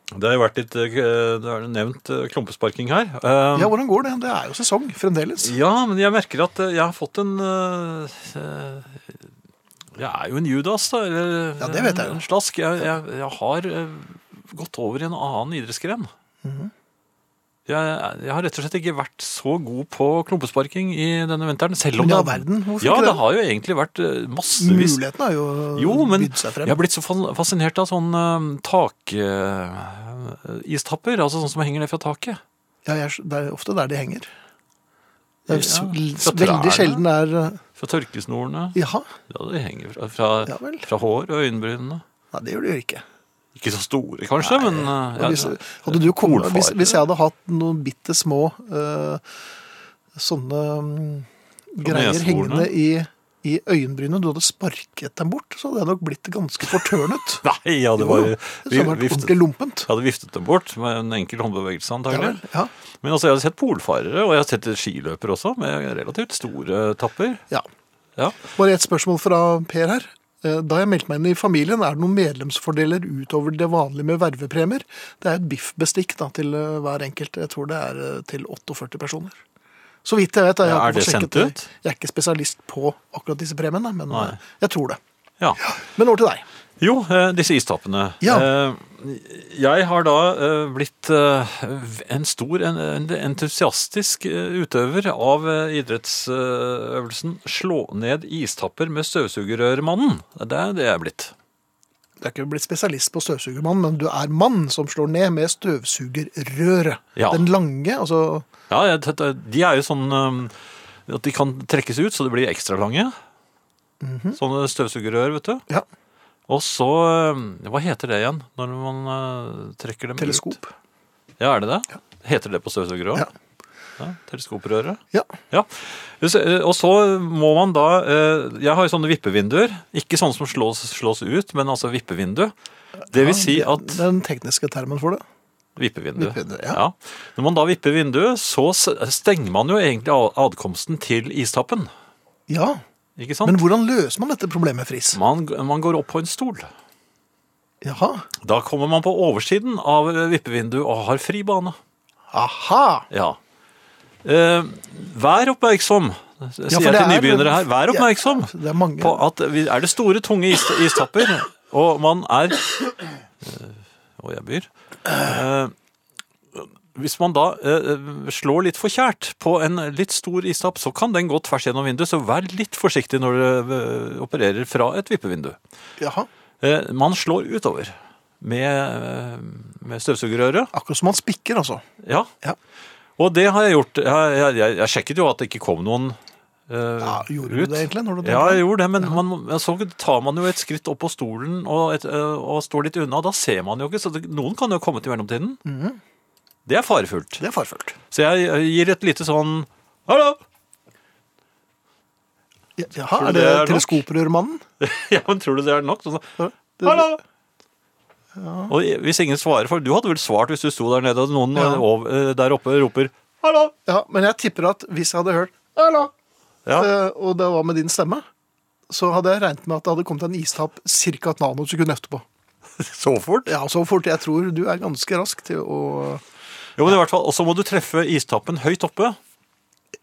Det har jo vært litt eh, Det er nevnt eh, klumpesparking her. Eh, Ja, hvordan går det? Det er jo sesong fremdeles. ja, men jeg merker at eh, jeg har fått en eh, eh, Jeg er jo en Judas, da. Eller, Ja, det vet jeg jo. En slask. Jeg, jeg, jeg har eh, gått over i en annen idrettsgren. Mhm. jeg, jeg har rett og slett ikke vært så god på klumpesparking i denne vinteren. Selv om Men i all det- verden, hvorfor ja, ikke det? det har jo egentlig vært eh, massevis Muligheten har jo, Jo, men bydd seg jeg frem. har blitt så fan- fascinert av sånn eh, tak... eh, istapper, altså sånn som henger ned fra taket. Ja, jeg, det er ofte der de henger. Det er s- Ja, l- fra veldig trærne. sjelden det er eh, Fra tørkesnorene. Jaha. Ja, det henger fra, fra, Ja vel. fra hår og øyenbrynene. Nei, det gjør det jo ikke. Ikke så store, kanskje, men eh, Og ja, hvis, hadde du kommet, Kornfar. hvis, hvis jeg hadde hatt noen bitte små eh, sånne mm, greier neshorene? hengende i, i øyenbrynet, du hadde sparket dem bort, så hadde jeg nok blitt ganske fortørnet. Nei, ja, det Jo, var jo. vi, Så hadde det vært viftet, ordentlig lumpent. Jeg hadde viftet dem bort med en enkel håndbevegelse, Ja, antagelig. vel, ja. Men altså, jeg har sett polfarere, og jeg har sett skiløpere også, med relativt store tapper. ja. Ja. Bare et spørsmål fra Per her. Eh, Da jeg meldte meg inn i familien, er det noen medlemsfordeler utover det vanlige med vervepremier? Det er et biffbestikk da, til eh, hver enkelt. Jeg tror det er eh, til 48 personer. Så vidt jeg vet. Jeg, har Ja, er ikke fått det sjekket sendt ut? Jeg er ikke spesialist på akkurat disse premiene, men Nei. eh, jeg tror det. ja. Men over til deg. Jo, eh, disse istappene. Ja. Eh, Jeg har da eh, blitt eh, en stor, en- en entusiastisk eh, utøver av eh, idrettsøvelsen slå ned istapper med støvsugerørmannen. Det er det jeg er blitt. Du er ikke blitt spesialist på støvsugermann, men du er mann som slår ned med støvsugerrøret. Ja. Den lange, altså Ja, jeg- de er jo sånn eh, at de kan trekkes ut, så det blir ekstra lange. Mhm. Sånne støvsugerrør, vet du. ja, Og så eh, Hva heter det igjen når man eh, trekker dem ut? teleskop. Ja, er det det? Heter det på støvsugere òg? Ja. ja. Teleskoprøret? Ja. Ja. Så, eh, Og så må man da eh, Jeg har jo sånne vippevinduer. Ikke sånne som slås, slås ut, men altså vippevindu. Det vil si Ja, at Det er den tekniske termen for det. Vippevinduet. Vippevinduet, ja. Når man da vipper vinduet, så s- stenger man jo egentlig a- adkomsten til istappen. Ja, Ikke sant? men hvordan løser man dette problemet, Friis? man, man går opp på en stol. Jaha. Da kommer man på oversiden av vippevinduet og har fri bane. Aha! Ja. Eh, vær oppmerksom, sier for jeg det til er- nybegynnere her. Vær Ja, oppmerksom det er mange- på at vi- er det store, tunge is, istapper, og man er eh, Og jeg byr. eh, hvis man da eh, slår litt for kjært på en litt stor istapp, så kan den gå tvers gjennom vinduet, så vær litt forsiktig når du eh, opererer fra et vippevindu. Jaha. Eh, man slår utover med, eh, med støvsugerøret. Akkurat som man spikker, altså. Ja. Ja. Og det har jeg gjort. Jeg, jeg, jeg, jeg sjekket jo at det ikke kom noen eh, Ja, gjorde du det egentlig? Når du Ja, tenkte? jeg gjorde det, men man, men så tar man jo et skritt opp på stolen og, et, eh, og står litt unna. Da ser man jo ikke, så det, noen kan jo komme til mellomtiden. Mhm. Det er farefullt. Det er farfullt. Så jeg eh, gir et lite sånn Hallo! Jaha, er du det det, er nok? teleskoprørmannen? Ja, men tror du det er nok? Sånn, Ja, det- Hallo! Og hvis ingen svarer, for du hadde vel svart hvis du sto der nede og noen Ja. eh, ov- eh, der oppe roper Hallo! Ja, men jeg tipper at hvis jeg hadde hørt Hallo! Ja. eh, og det var med din stemme, så hadde jeg regnet med at det hadde kommet en istapp ca. et nanosekund etterpå. Så fort? Ja, så fort. Jeg tror du er ganske rask til å Jo, men i hvert fall, Og så må du treffe istappen høyt oppe.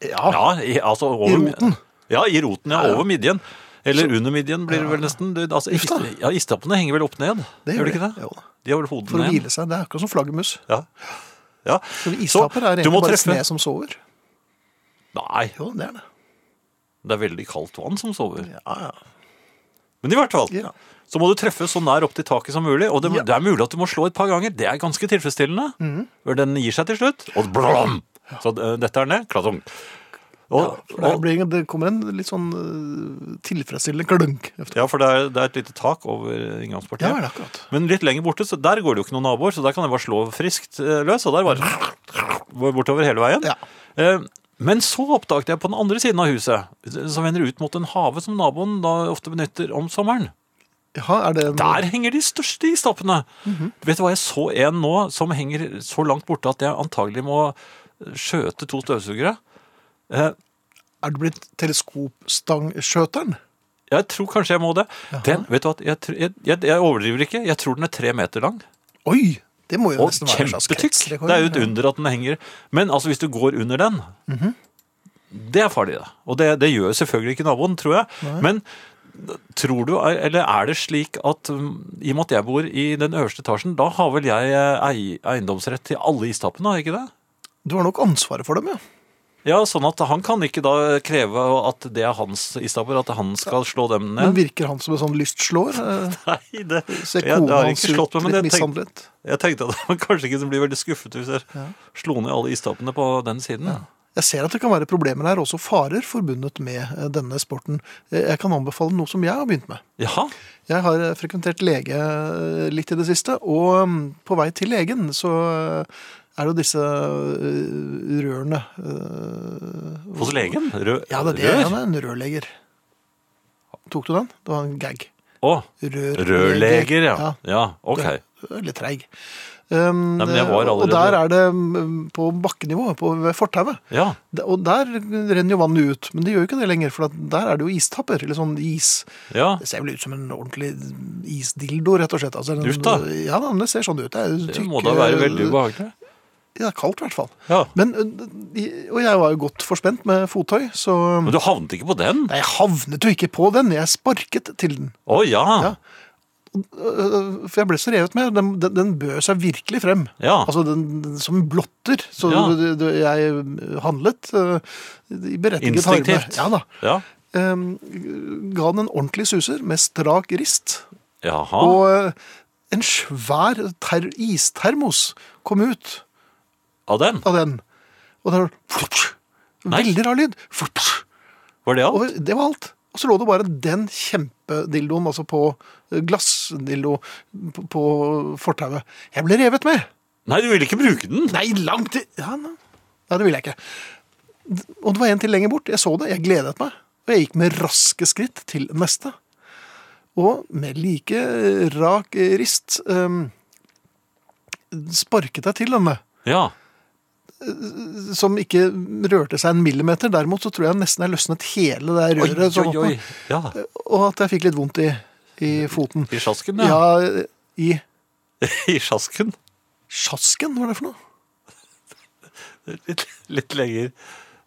Ja. Ja, i, altså over, roten. Ja, i roten, ja, over midjen. Eller under midjen blir det vel nesten. Det, altså, ist, ja, Istappene henger vel opp ned? Det gjør de ikke de, det? jo da. De har vel hodet For å ned. hvile seg. Det er akkurat som flaggermus. Ja. ja. Men Istapper er du egentlig må bare treffe- sne som sover. Nei, Jo, det er det. det er veldig kaldt vann som sover. Ja, ja. Men i hvert fall, Ja. så må du treffe så nær opp til taket som mulig. Og det, det er mulig at du må slå et par ganger. Det er ganske tilfredsstillende. Mhm. For den gir seg til slutt, og blom! Så eh, dette er ned. Klatung. Og, For det, og- blir, det kommer en litt sånn øh, tilfredsstillende klunk. Efter. Ja, for det er, det er et lite tak over inngangspartiet. Ja, det er akkurat. Men litt lenger borte, så der går det jo ikke noen naboer, så der kan jeg bare slå friskt eh, løs, og der bare bortover hele veien. Ja. Eh, Men så oppdaget jeg på den andre siden av huset, som vender ut mot en have som naboen da ofte benytter om sommeren. Jaha, er det en... Der henger de største istappene! Vet du hva, jeg så en nå som henger så langt borte at jeg antagelig må eh, skjøte to støvsugere. Eh, Er det blitt teleskopstangskjøteren? Jeg tror kanskje jeg må det. Den, vet du hva, jeg, tr- jeg, jeg, jeg overdriver ikke. Jeg tror den er tre meter lang. Oi! Det må jo Og nesten være en slags kjempetykk. kretsrekord. Det er jo et under at den henger. Men altså, hvis du går under den, det er farlig, det. Og det, det gjør selvfølgelig ikke naboen, tror jeg. Men tror du, eller er det slik at um, i og med at jeg bor i den øverste etasjen, da har vel jeg eh, ei, eiendomsrett til alle istappene, har jeg ikke det? Du har nok ansvaret for dem, ja. Ja, sånn at han kan ikke da kreve at det er hans istapper, at han skal slå dem Men ned. virker han som en sånn lystslår? Eh, Nei, det, Ser jeg, det kona har jeg hans ikke slått ut meg, men litt jeg tenkte, mishandlet? jeg tenkte at han kanskje ikke blir veldig skuffet hvis jeg slo ned alle istappene på den siden. Jeg ser at det kan være problemer her, også farer forbundet med eh, denne sporten. Eh, Jeg kan anbefale noe som jeg har begynt med. Jaha, Jeg har eh, frekventert lege eh, litt i det siste, og mm, på vei til legen så eh, er det jo disse eh, rørene eh, hos legen? Rø Ja, det er det. Rør? Han er en rørleger. Tok du den? Det var en gag. Å, Rør- rørleger, ja. Ja, Ja, ok. Du er Litt treig. Um, Nei, men jeg var og allerede- der er det um, på bakkenivå, på, ved fortauet. Ja, Det- Og der renner jo vannet ut, men det gjør jo ikke det lenger, for at der er det jo istapper, eller sånn is. ja. Det ser vel ut som en ordentlig isdildo, rett og slett. Altså, en- Uff da. Ja, da, men det ser sånn ut. Det, er jo Det tykk, må da være veldig eh, ubehagelig. Ja, kaldt i hvert fall. Ja. Men, eh, og jeg var jo godt forspent med fottøy, så... Men du havnet ikke på den? Nei, jeg havnet jo ikke på den, jeg sparket til den. Å ja. Ja. Øh, For jeg ble så revet med. Den, den, den bød seg virkelig frem. Ja. Altså, den, den som en blotter. Så Ja. det- det- jeg handlet øh, i berettiget harme. Instinktivt. Ja da. Ja. Ehm, ga den en ordentlig suser med strak rist. Jaha. Og øh, en svær ter istermos kom ut Av den? av den. Og det var Nei. veldig rar lyd. Var det alt? Og det var alt. Og så lå det bare den kjempedildoen, altså på glassdildo, på, på fortauet. Jeg ble revet med! Nei, du ville ikke bruke den? Nei, langt i ja, nei. nei, det ville jeg ikke. Og det var en til lenger bort. Jeg så det, jeg gledet meg. Og jeg gikk med raske skritt til neste. Og med like rak rist ehm, sparket deg til denne, Ja. som ikke rørte seg en millimeter. Derimot så tror jeg nesten jeg løsnet hele det Oi, røret, som oi, var oi. på, Ja. og at jeg fikk litt vondt i, i foten. I sjasken, ja. Ja, i I sjasken. sjasken, hva er det for noe? Litt, litt lenger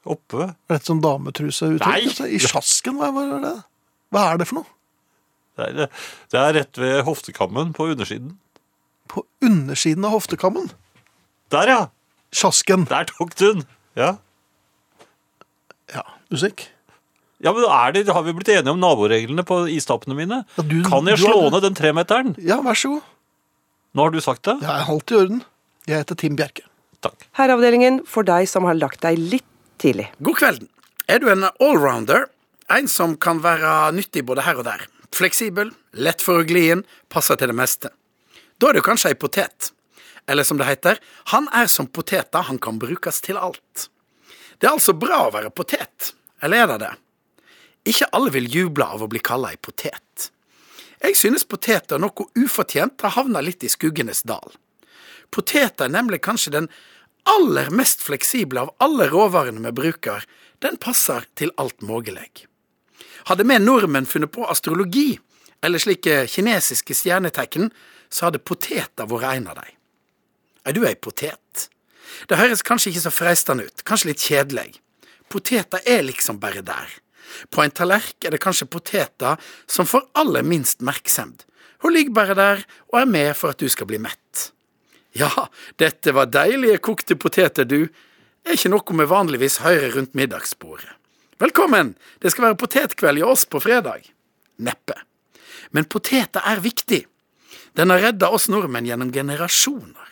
oppe. Er dette sånn dametruse Nei! uttrykk? I sjasken, hva, hva er det? Hva er det for noe? Det er, det er rett ved hoftekammen på undersiden. På undersiden av hoftekammen. Der, ja! Sjasken. Der tok du den! Ja. Ja, musikk. Ja, men er det, Har vi blitt enige om naboreglene på istappene mine? Ja, du- kan jeg du har- slå ned den tremeteren? Ja, vær så god. Nå har du sagt det? Jeg er halvt i orden. Jeg heter Tim Bjerke. Takk. Herreavdelingen for deg som har lagt deg litt tidlig. God kvelden. Er du en allrounder? En som kan være nyttig både her og der. Fleksibel, lett for å gli inn, passer til det meste. Da er du kanskje ei potet. Eller som det heter, han er som poteter, han kan brukes til alt. Det er altså bra å være potet, eller er det det? Ikke alle vil juble av å bli kalla ei potet. Jeg synes poteter noe ufortjent har havna litt i skuggenes dal. Poteter er nemlig kanskje den aller mest fleksible av alle råvarene vi bruker. Den passer til alt mulig. Hadde vi nordmenn funnet på astrologi, eller slike kinesiske stjernetegn, så hadde poteter vært en av dem. Er du ei potet? Det høres kanskje ikke så freistende ut, kanskje litt kjedelig. Poteter er liksom bare der. På en tallerk er det kanskje poteter som får aller minst merksemd. Hun ligger bare der og er med for at du skal bli mett. Ja, dette var deilige kokte poteter, du. Det er ikke noe vi vanligvis hører rundt middagsbordet. Velkommen! Det skal være potetkveld i oss på fredag. Neppe. Men poteter er viktig. Den har redda oss nordmenn gjennom generasjoner.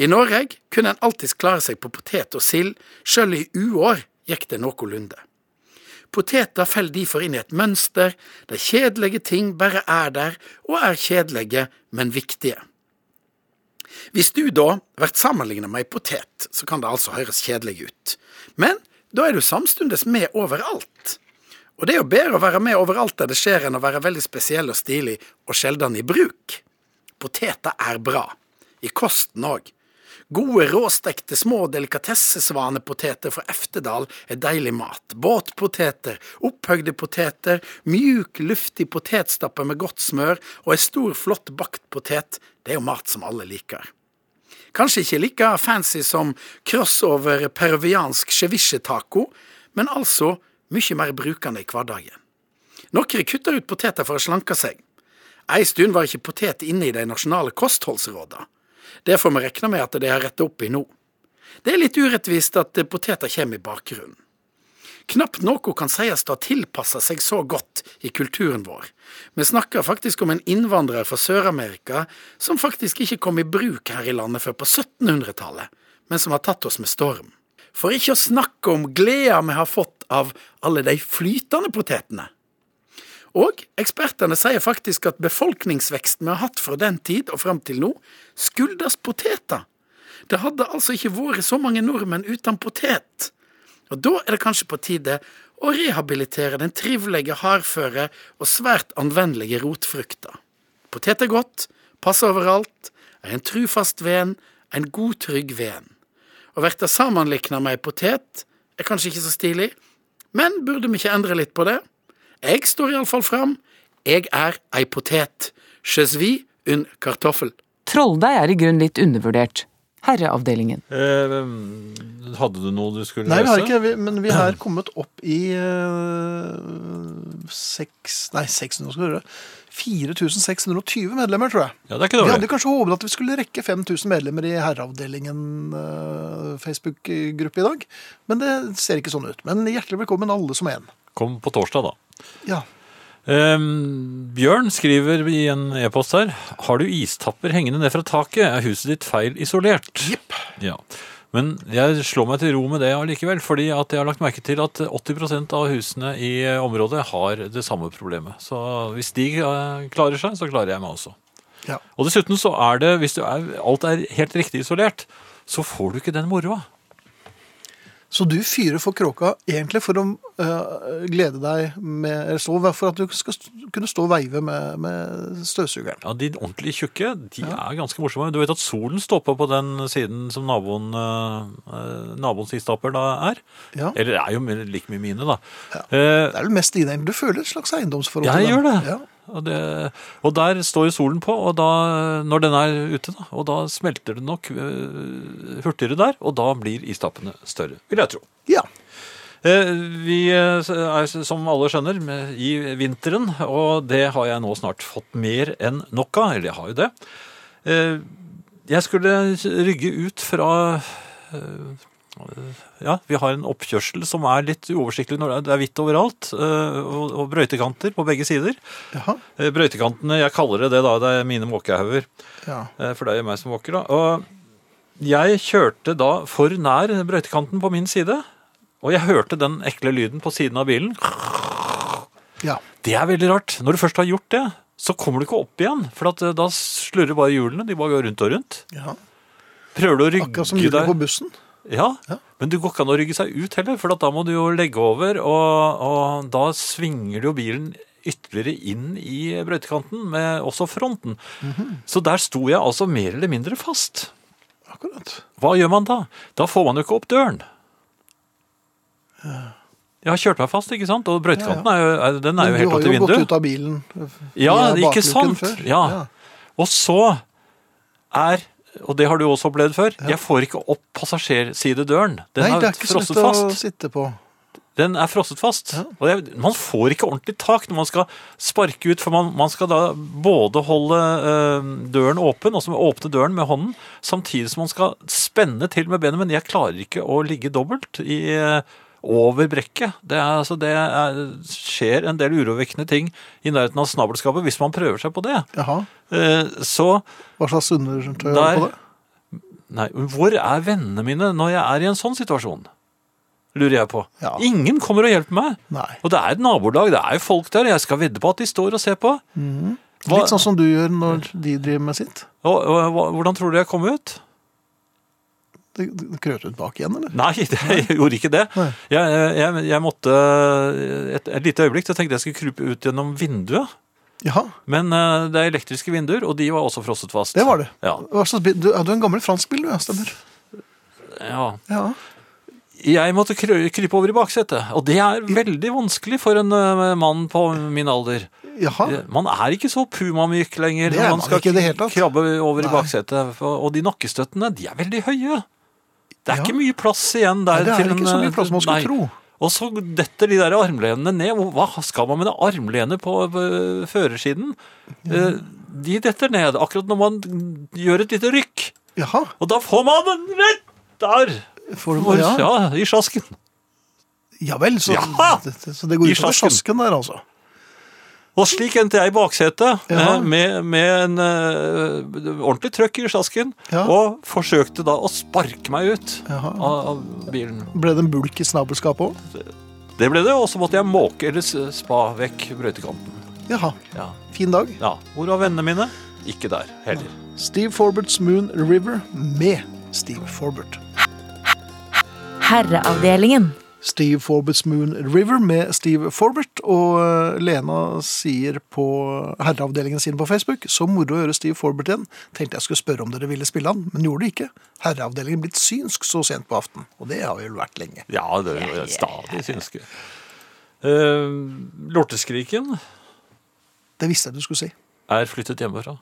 I Norge kunne en alltids klare seg på potet og sild, sjøl i uår gikk det noenlunde. Poteter faller derfor inn i et mønster der kjedelige ting bare er der, og er kjedelige, men viktige. Hvis du da blir sammenlignet med ei potet, så kan det altså høres kjedelig ut. Men da er du samstundes med overalt. Og det er jo bedre å være med overalt der det skjer, enn å være veldig spesiell og stilig og sjelden i bruk. Poteter er bra. I kosten òg. Gode råstekte små delikatessesvanepoteter fra Eftedal er deilig mat. Båtpoteter, opphøgde poteter, mjuk, luftig potetstappe med godt smør og ei stor, flott bakt potet, det er jo mat som alle liker. Kanskje ikke like fancy som crossover peruviansk ceviche-taco, men altså mye mer brukende i hverdagen. Noen kutter ut poteter for å slanke seg. Ei stund var ikke potet inne i de nasjonale kostholdsrådene. Det får vi regne med at de har retta opp i nå. Det er litt urettvist at eh, poteter kommer i bakgrunnen. Knapt noe kan sies å ha tilpassa seg så godt i kulturen vår. Vi snakker faktisk om en innvandrer fra Sør-Amerika som faktisk ikke kom i bruk her i landet før på 1700-tallet, men som har tatt oss med storm. For ikke å snakke om gleda vi har fått av alle de flytende potetene. Og ekspertene sier faktisk at befolkningsveksten vi har hatt fra den tid og fram til nå, skyldes poteter. Det hadde altså ikke vært så mange nordmenn uten potet. Og da er det kanskje på tide å rehabilitere den trivelige, hardføre og svært anvendelige rotfrukta. Potet er godt, passer overalt, er en trufast ven, en god, trygg ven. Å verte sammenlikna med ei potet er kanskje ikke så stilig, men burde vi ikke endre litt på det? Jeg står iallfall fram. Jeg er ei potet. Je suis un kartoffel. Trolldeig er i grunnen litt undervurdert. Herreavdelingen. Eh, hadde du noe du skulle Nei, vi lese? har ikke, vi, men vi har kommet opp i eh, seks, nei, 600, skal vi høre. 4620 medlemmer, tror jeg. Ja, det er ikke Vi hadde dårlig. kanskje håpet at vi skulle rekke 5000 medlemmer i herreavdelingen eh, Facebook-gruppe i dag, men det ser ikke sånn ut. Men hjertelig velkommen alle som en. Kom på torsdag, da. Ja, Eh, Bjørn skriver i en e-post her Har du istapper hengende ned fra taket? Er huset ditt feil isolert? Jipp. Ja. Men jeg slår meg til ro med det allikevel, fordi at jeg har lagt merke til at 80 av husene i eh, området har det samme problemet. Så hvis de eh, klarer seg, så klarer jeg meg også. ja. Og dessuten så er det, hvis du er, alt er helt riktig isolert, så får du ikke den moroa. Så du fyrer for kråka egentlig for å eh, glede deg med eller stå, For at du skal st- kunne stå og veive med, med støvsugeren. Ja, De ordentlig tjukke de er ganske morsomme. Du vet at solen stopper på den siden som naboen, eh, naboens istapper da er? Ja. Eller det er jo mer- like mye mine, da. Det Eh, er vel mest dine. egentlig. Du føler et slags eiendomsforhold jeg til gjør dem. det. Ja. Og det. Og der står jo solen på, og da, når den er ute, da, og da smelter det nok eh, hurtigere der, og da blir istappene større, vil jeg tro. Ja. Eh, Vi eh, er som alle skjønner med- i vinteren, og det har jeg nå snart fått mer enn nok av. Eller jeg har jo det. Eh, Jeg skulle rygge ut fra eh, Ja, vi har en oppkjørsel som er litt uoversiktlig når det er- det er hvitt overalt, eh, og og brøytekanter på begge sider. Jaha. Eh, Brøytekantene, jeg kaller det det, da. Det er mine måkehauger. Ja. Eh, For det er jo meg som våker, da. Og jeg kjørte da for nær brøytekanten på min side. Og jeg hørte den ekle lyden på siden av bilen. ja. Det er veldig rart. Når du først har gjort det, så kommer du ikke opp igjen. For at eh, da slurrer bare hjulene. De bare går rundt og rundt. ja. Prøver du å rygge Akkurat som hjulet deg på bussen. ja, Ja. men du går ikke an å rygge seg ut heller, for at da må du jo legge over, og, og da svinger du jo bilen ytterligere inn i brøytekanten, med også fronten. Mhm. Så der sto jeg altså mer eller mindre fast. Akkurat. Hva gjør man da? Da får man jo ikke opp døren. Jeg har kjørt meg fast, ikke sant? Og brøytekanten er jo, er, den er jo Men helt opp Du til har jo gått vinduet. ut av bilen eh, Ja, via ikke bakluken sant? før. Ja. Og så er, og det har du også opplevd før, jeg får ikke opp passasjersidedøren. Den Nei, det er er ikke sånn så frosset lett å fast. sitte på. Den er frosset fast. Og det, er- man får ikke ordentlig tak når man skal sparke ut, for man, man skal da både holde eh, døren åpen, og så åpne døren med hånden, samtidig som man skal spenne til med benet, men jeg klarer ikke å ligge dobbelt i, eh, over brekket. Det, er, altså, det er, skjer en del urovekkende ting i nærheten av snabelskapet hvis man prøver seg på det. Jaha. Eh, så Hva slags undertøy har du der på det? Nei, hvor er vennene mine når jeg er i en sånn situasjon? Lurer jeg på. Ja. Ingen kommer og hjelper meg. Nei. Og det er et nabolag, det er jo folk der. Jeg skal vedde på at de står og ser på. Hva- Litt sånn som du gjør når de driver med sitt. Og, og, hva- hvordan tror du jeg kom ut? Det det krøt ut bak igjen, eller? Nei, det, jeg gjorde ikke det. Nei. Jeg, jeg, jeg måtte et, et lite øyeblikk, så tenkte jeg skulle krype ut gjennom vinduet. Jaha. Men eh, det er elektriske vinduer, og de var også frosset fast. Det var det. Ja. Hva slags bil? Du, ja, du er en gammel fransk bil, du, ja, stemmer. ja. Ja. Jeg måtte krø- krype over i baksetet, og det er veldig vanskelig for en eh, mann på min alder. Jaha. Man er ikke så pumamyk lenger. Det er når man ikke i det hele tatt. krabbe over i Nei. baksetet. for- Og de nakkestøttene, de er veldig høye. Det er Ja. ikke mye plass igjen der. Nei, det er til ikke en, eh, så mye plass man skulle nei. tro. Og så detter de der armlenene ned. Hvor- Hva skal man med det armlenet på øh, førersiden? Eh, De detter ned akkurat når man gjør et lite rykk. Jaha. Og da får man den rett der! Får du, Hvor, ja. ja, i sjasken. ja vel, så, Ja! det- så det går I ut over slasken. slasken der, altså. Og slik endte jeg i baksetet Ja. eh, med, med en eh, ordentlig trøkk i sjasken, Ja. og forsøkte da å sparke meg ut Jaha. av, av bilen. Ble det en bulk i snabelskapet òg? Det ble det, og så måtte jeg måke eller s- spa vekk brøytekanten. Jaha. Ja. Fin dag. ja. Hvor var vennene mine? Ikke der heller. Steve Forberts Moon River med Steve Forbert. Herreavdelingen. Steve Forberts Moon River med Steve Forbert. Og eh, Lena sier på herreavdelingen sin på Facebook så moro å høre Steve Forbert igjen. Tenkte jeg skulle spørre om dere ville spille han, men gjorde det ikke. Herreavdelingen blitt synsk så sent på aften, og det har vi vel vært lenge. Ja, det er jo stadig synske. Eh, lorteskriken Det visste jeg du skulle si. er flyttet hjemmefra.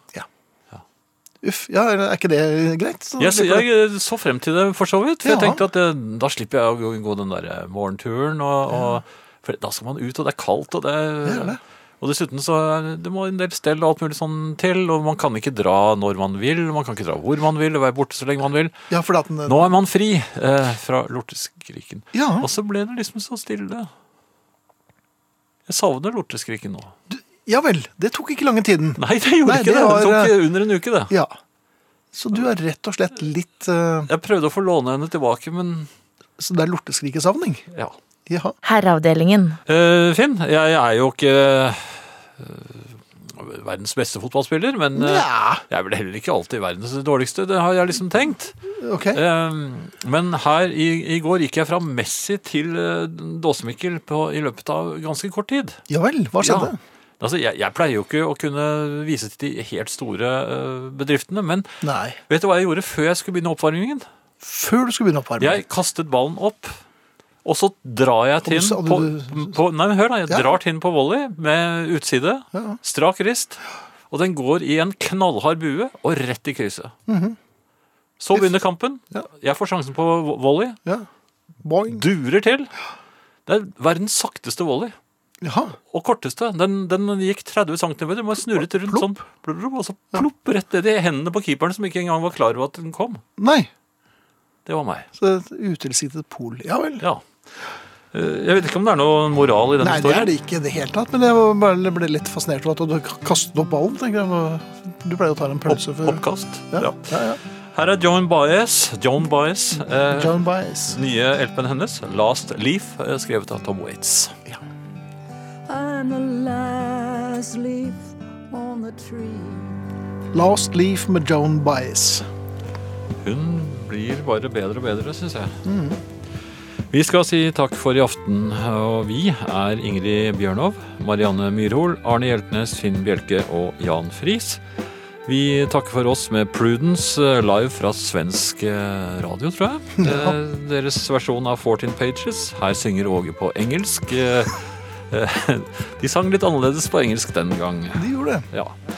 Uff, ja, er ikke det greit? Så Jeg, så- slipper du- jeg så frem til det for så vidt. For jeg Ja. tenkte at eh, da slipper jeg å gå, gå den der eh, morgenturen. Og, og, for da skal man ut, og det er kaldt. Og, det er er, det. og dessuten så er, det må en del stell og alt mulig sånn til. Og man kan ikke dra når man vil, man kan ikke dra hvor man vil, og være borte så lenge man vil. Ja, fordi at den Nå er man fri eh, fra lorteskriken. Ja, Og så ble det liksom så stille. Jeg savner lorteskriken nå. ja vel. Det tok ikke lange tiden. Nei, det gjorde Nei, ikke det det. Det var, tok eh, under en uke, det. Ja. Så du er rett og slett litt eh, Jeg prøvde å få låne henne tilbake, men Så det er lorteskrikesavning? ja. Jaha. Herreavdelingen. Eh, Finn, jeg er jo ikke eh, verdens beste fotballspiller, men eh, Nja. jeg er vel heller ikke alltid verdens dårligste. Det har jeg liksom tenkt. Ok. Ehm, Men her i, i går gikk jeg fra Messi til eh, Dåsemikkel på, i løpet av ganske kort tid. Ja vel, hva skjedde? Ja. Altså, jeg, jeg pleier jo ikke å kunne vise til de helt store eh, bedriftene, men Nei. vet du hva jeg gjorde før jeg skulle begynne oppvarmingen? Før du skulle begynne oppvarmingen. Jeg kastet ballen opp, og så drar jeg Og du til sa- på, du- på, Nei, men hør da, jeg Ja. drar til på volley med utside, Ja. strak rist, og den går i en knallhard bue og rett i krysset. Så begynner kampen. Mhm. Ja. Jeg får sjansen på vo- volley, Ja. Boing. durer til. Det er verdens sakteste volley. Jaha. Og korteste. Den, den gikk 30 cm. Du må snurre rundt sånn, plopp, og så plopp rett ned i hendene på keeperen, som ikke engang var klar over at den kom. Nei. Det var meg. Så et utilsiktet pol. Ja vel. Ja. Eh, Jeg vet ikke om det er noe moral i den Nei, det er historien. det ikke i det hele tatt, men jeg var bare ble litt fascinert av at du kastet opp ballen. tenker jeg. Du pleier å ta deg en pølse Opp, før oppkast. Ja, Ja. ja, ja. Her er Joan Baez. Joan Baez. Eh, John Baez. nye LP-en hennes, 'Last Leaf', eh, skrevet av Tom Waits. I'm the last leaf on the tree. Last Leaf med Joan Baez. Hun blir bare bedre og bedre, syns jeg. Vi skal si takk for i aften, og vi er Ingrid Bjørnov, Marianne Myrhol, Arne Hjeltnes, Finn Bjelke og Jan Friis. Vi takker for oss med Prudence eh, live fra svensk eh, radio, tror jeg. Eh, Deres versjon av 14 Pages. Her synger Åge på engelsk. Eh, eh, De sang litt annerledes på engelsk den gang. De gjorde det. Ja.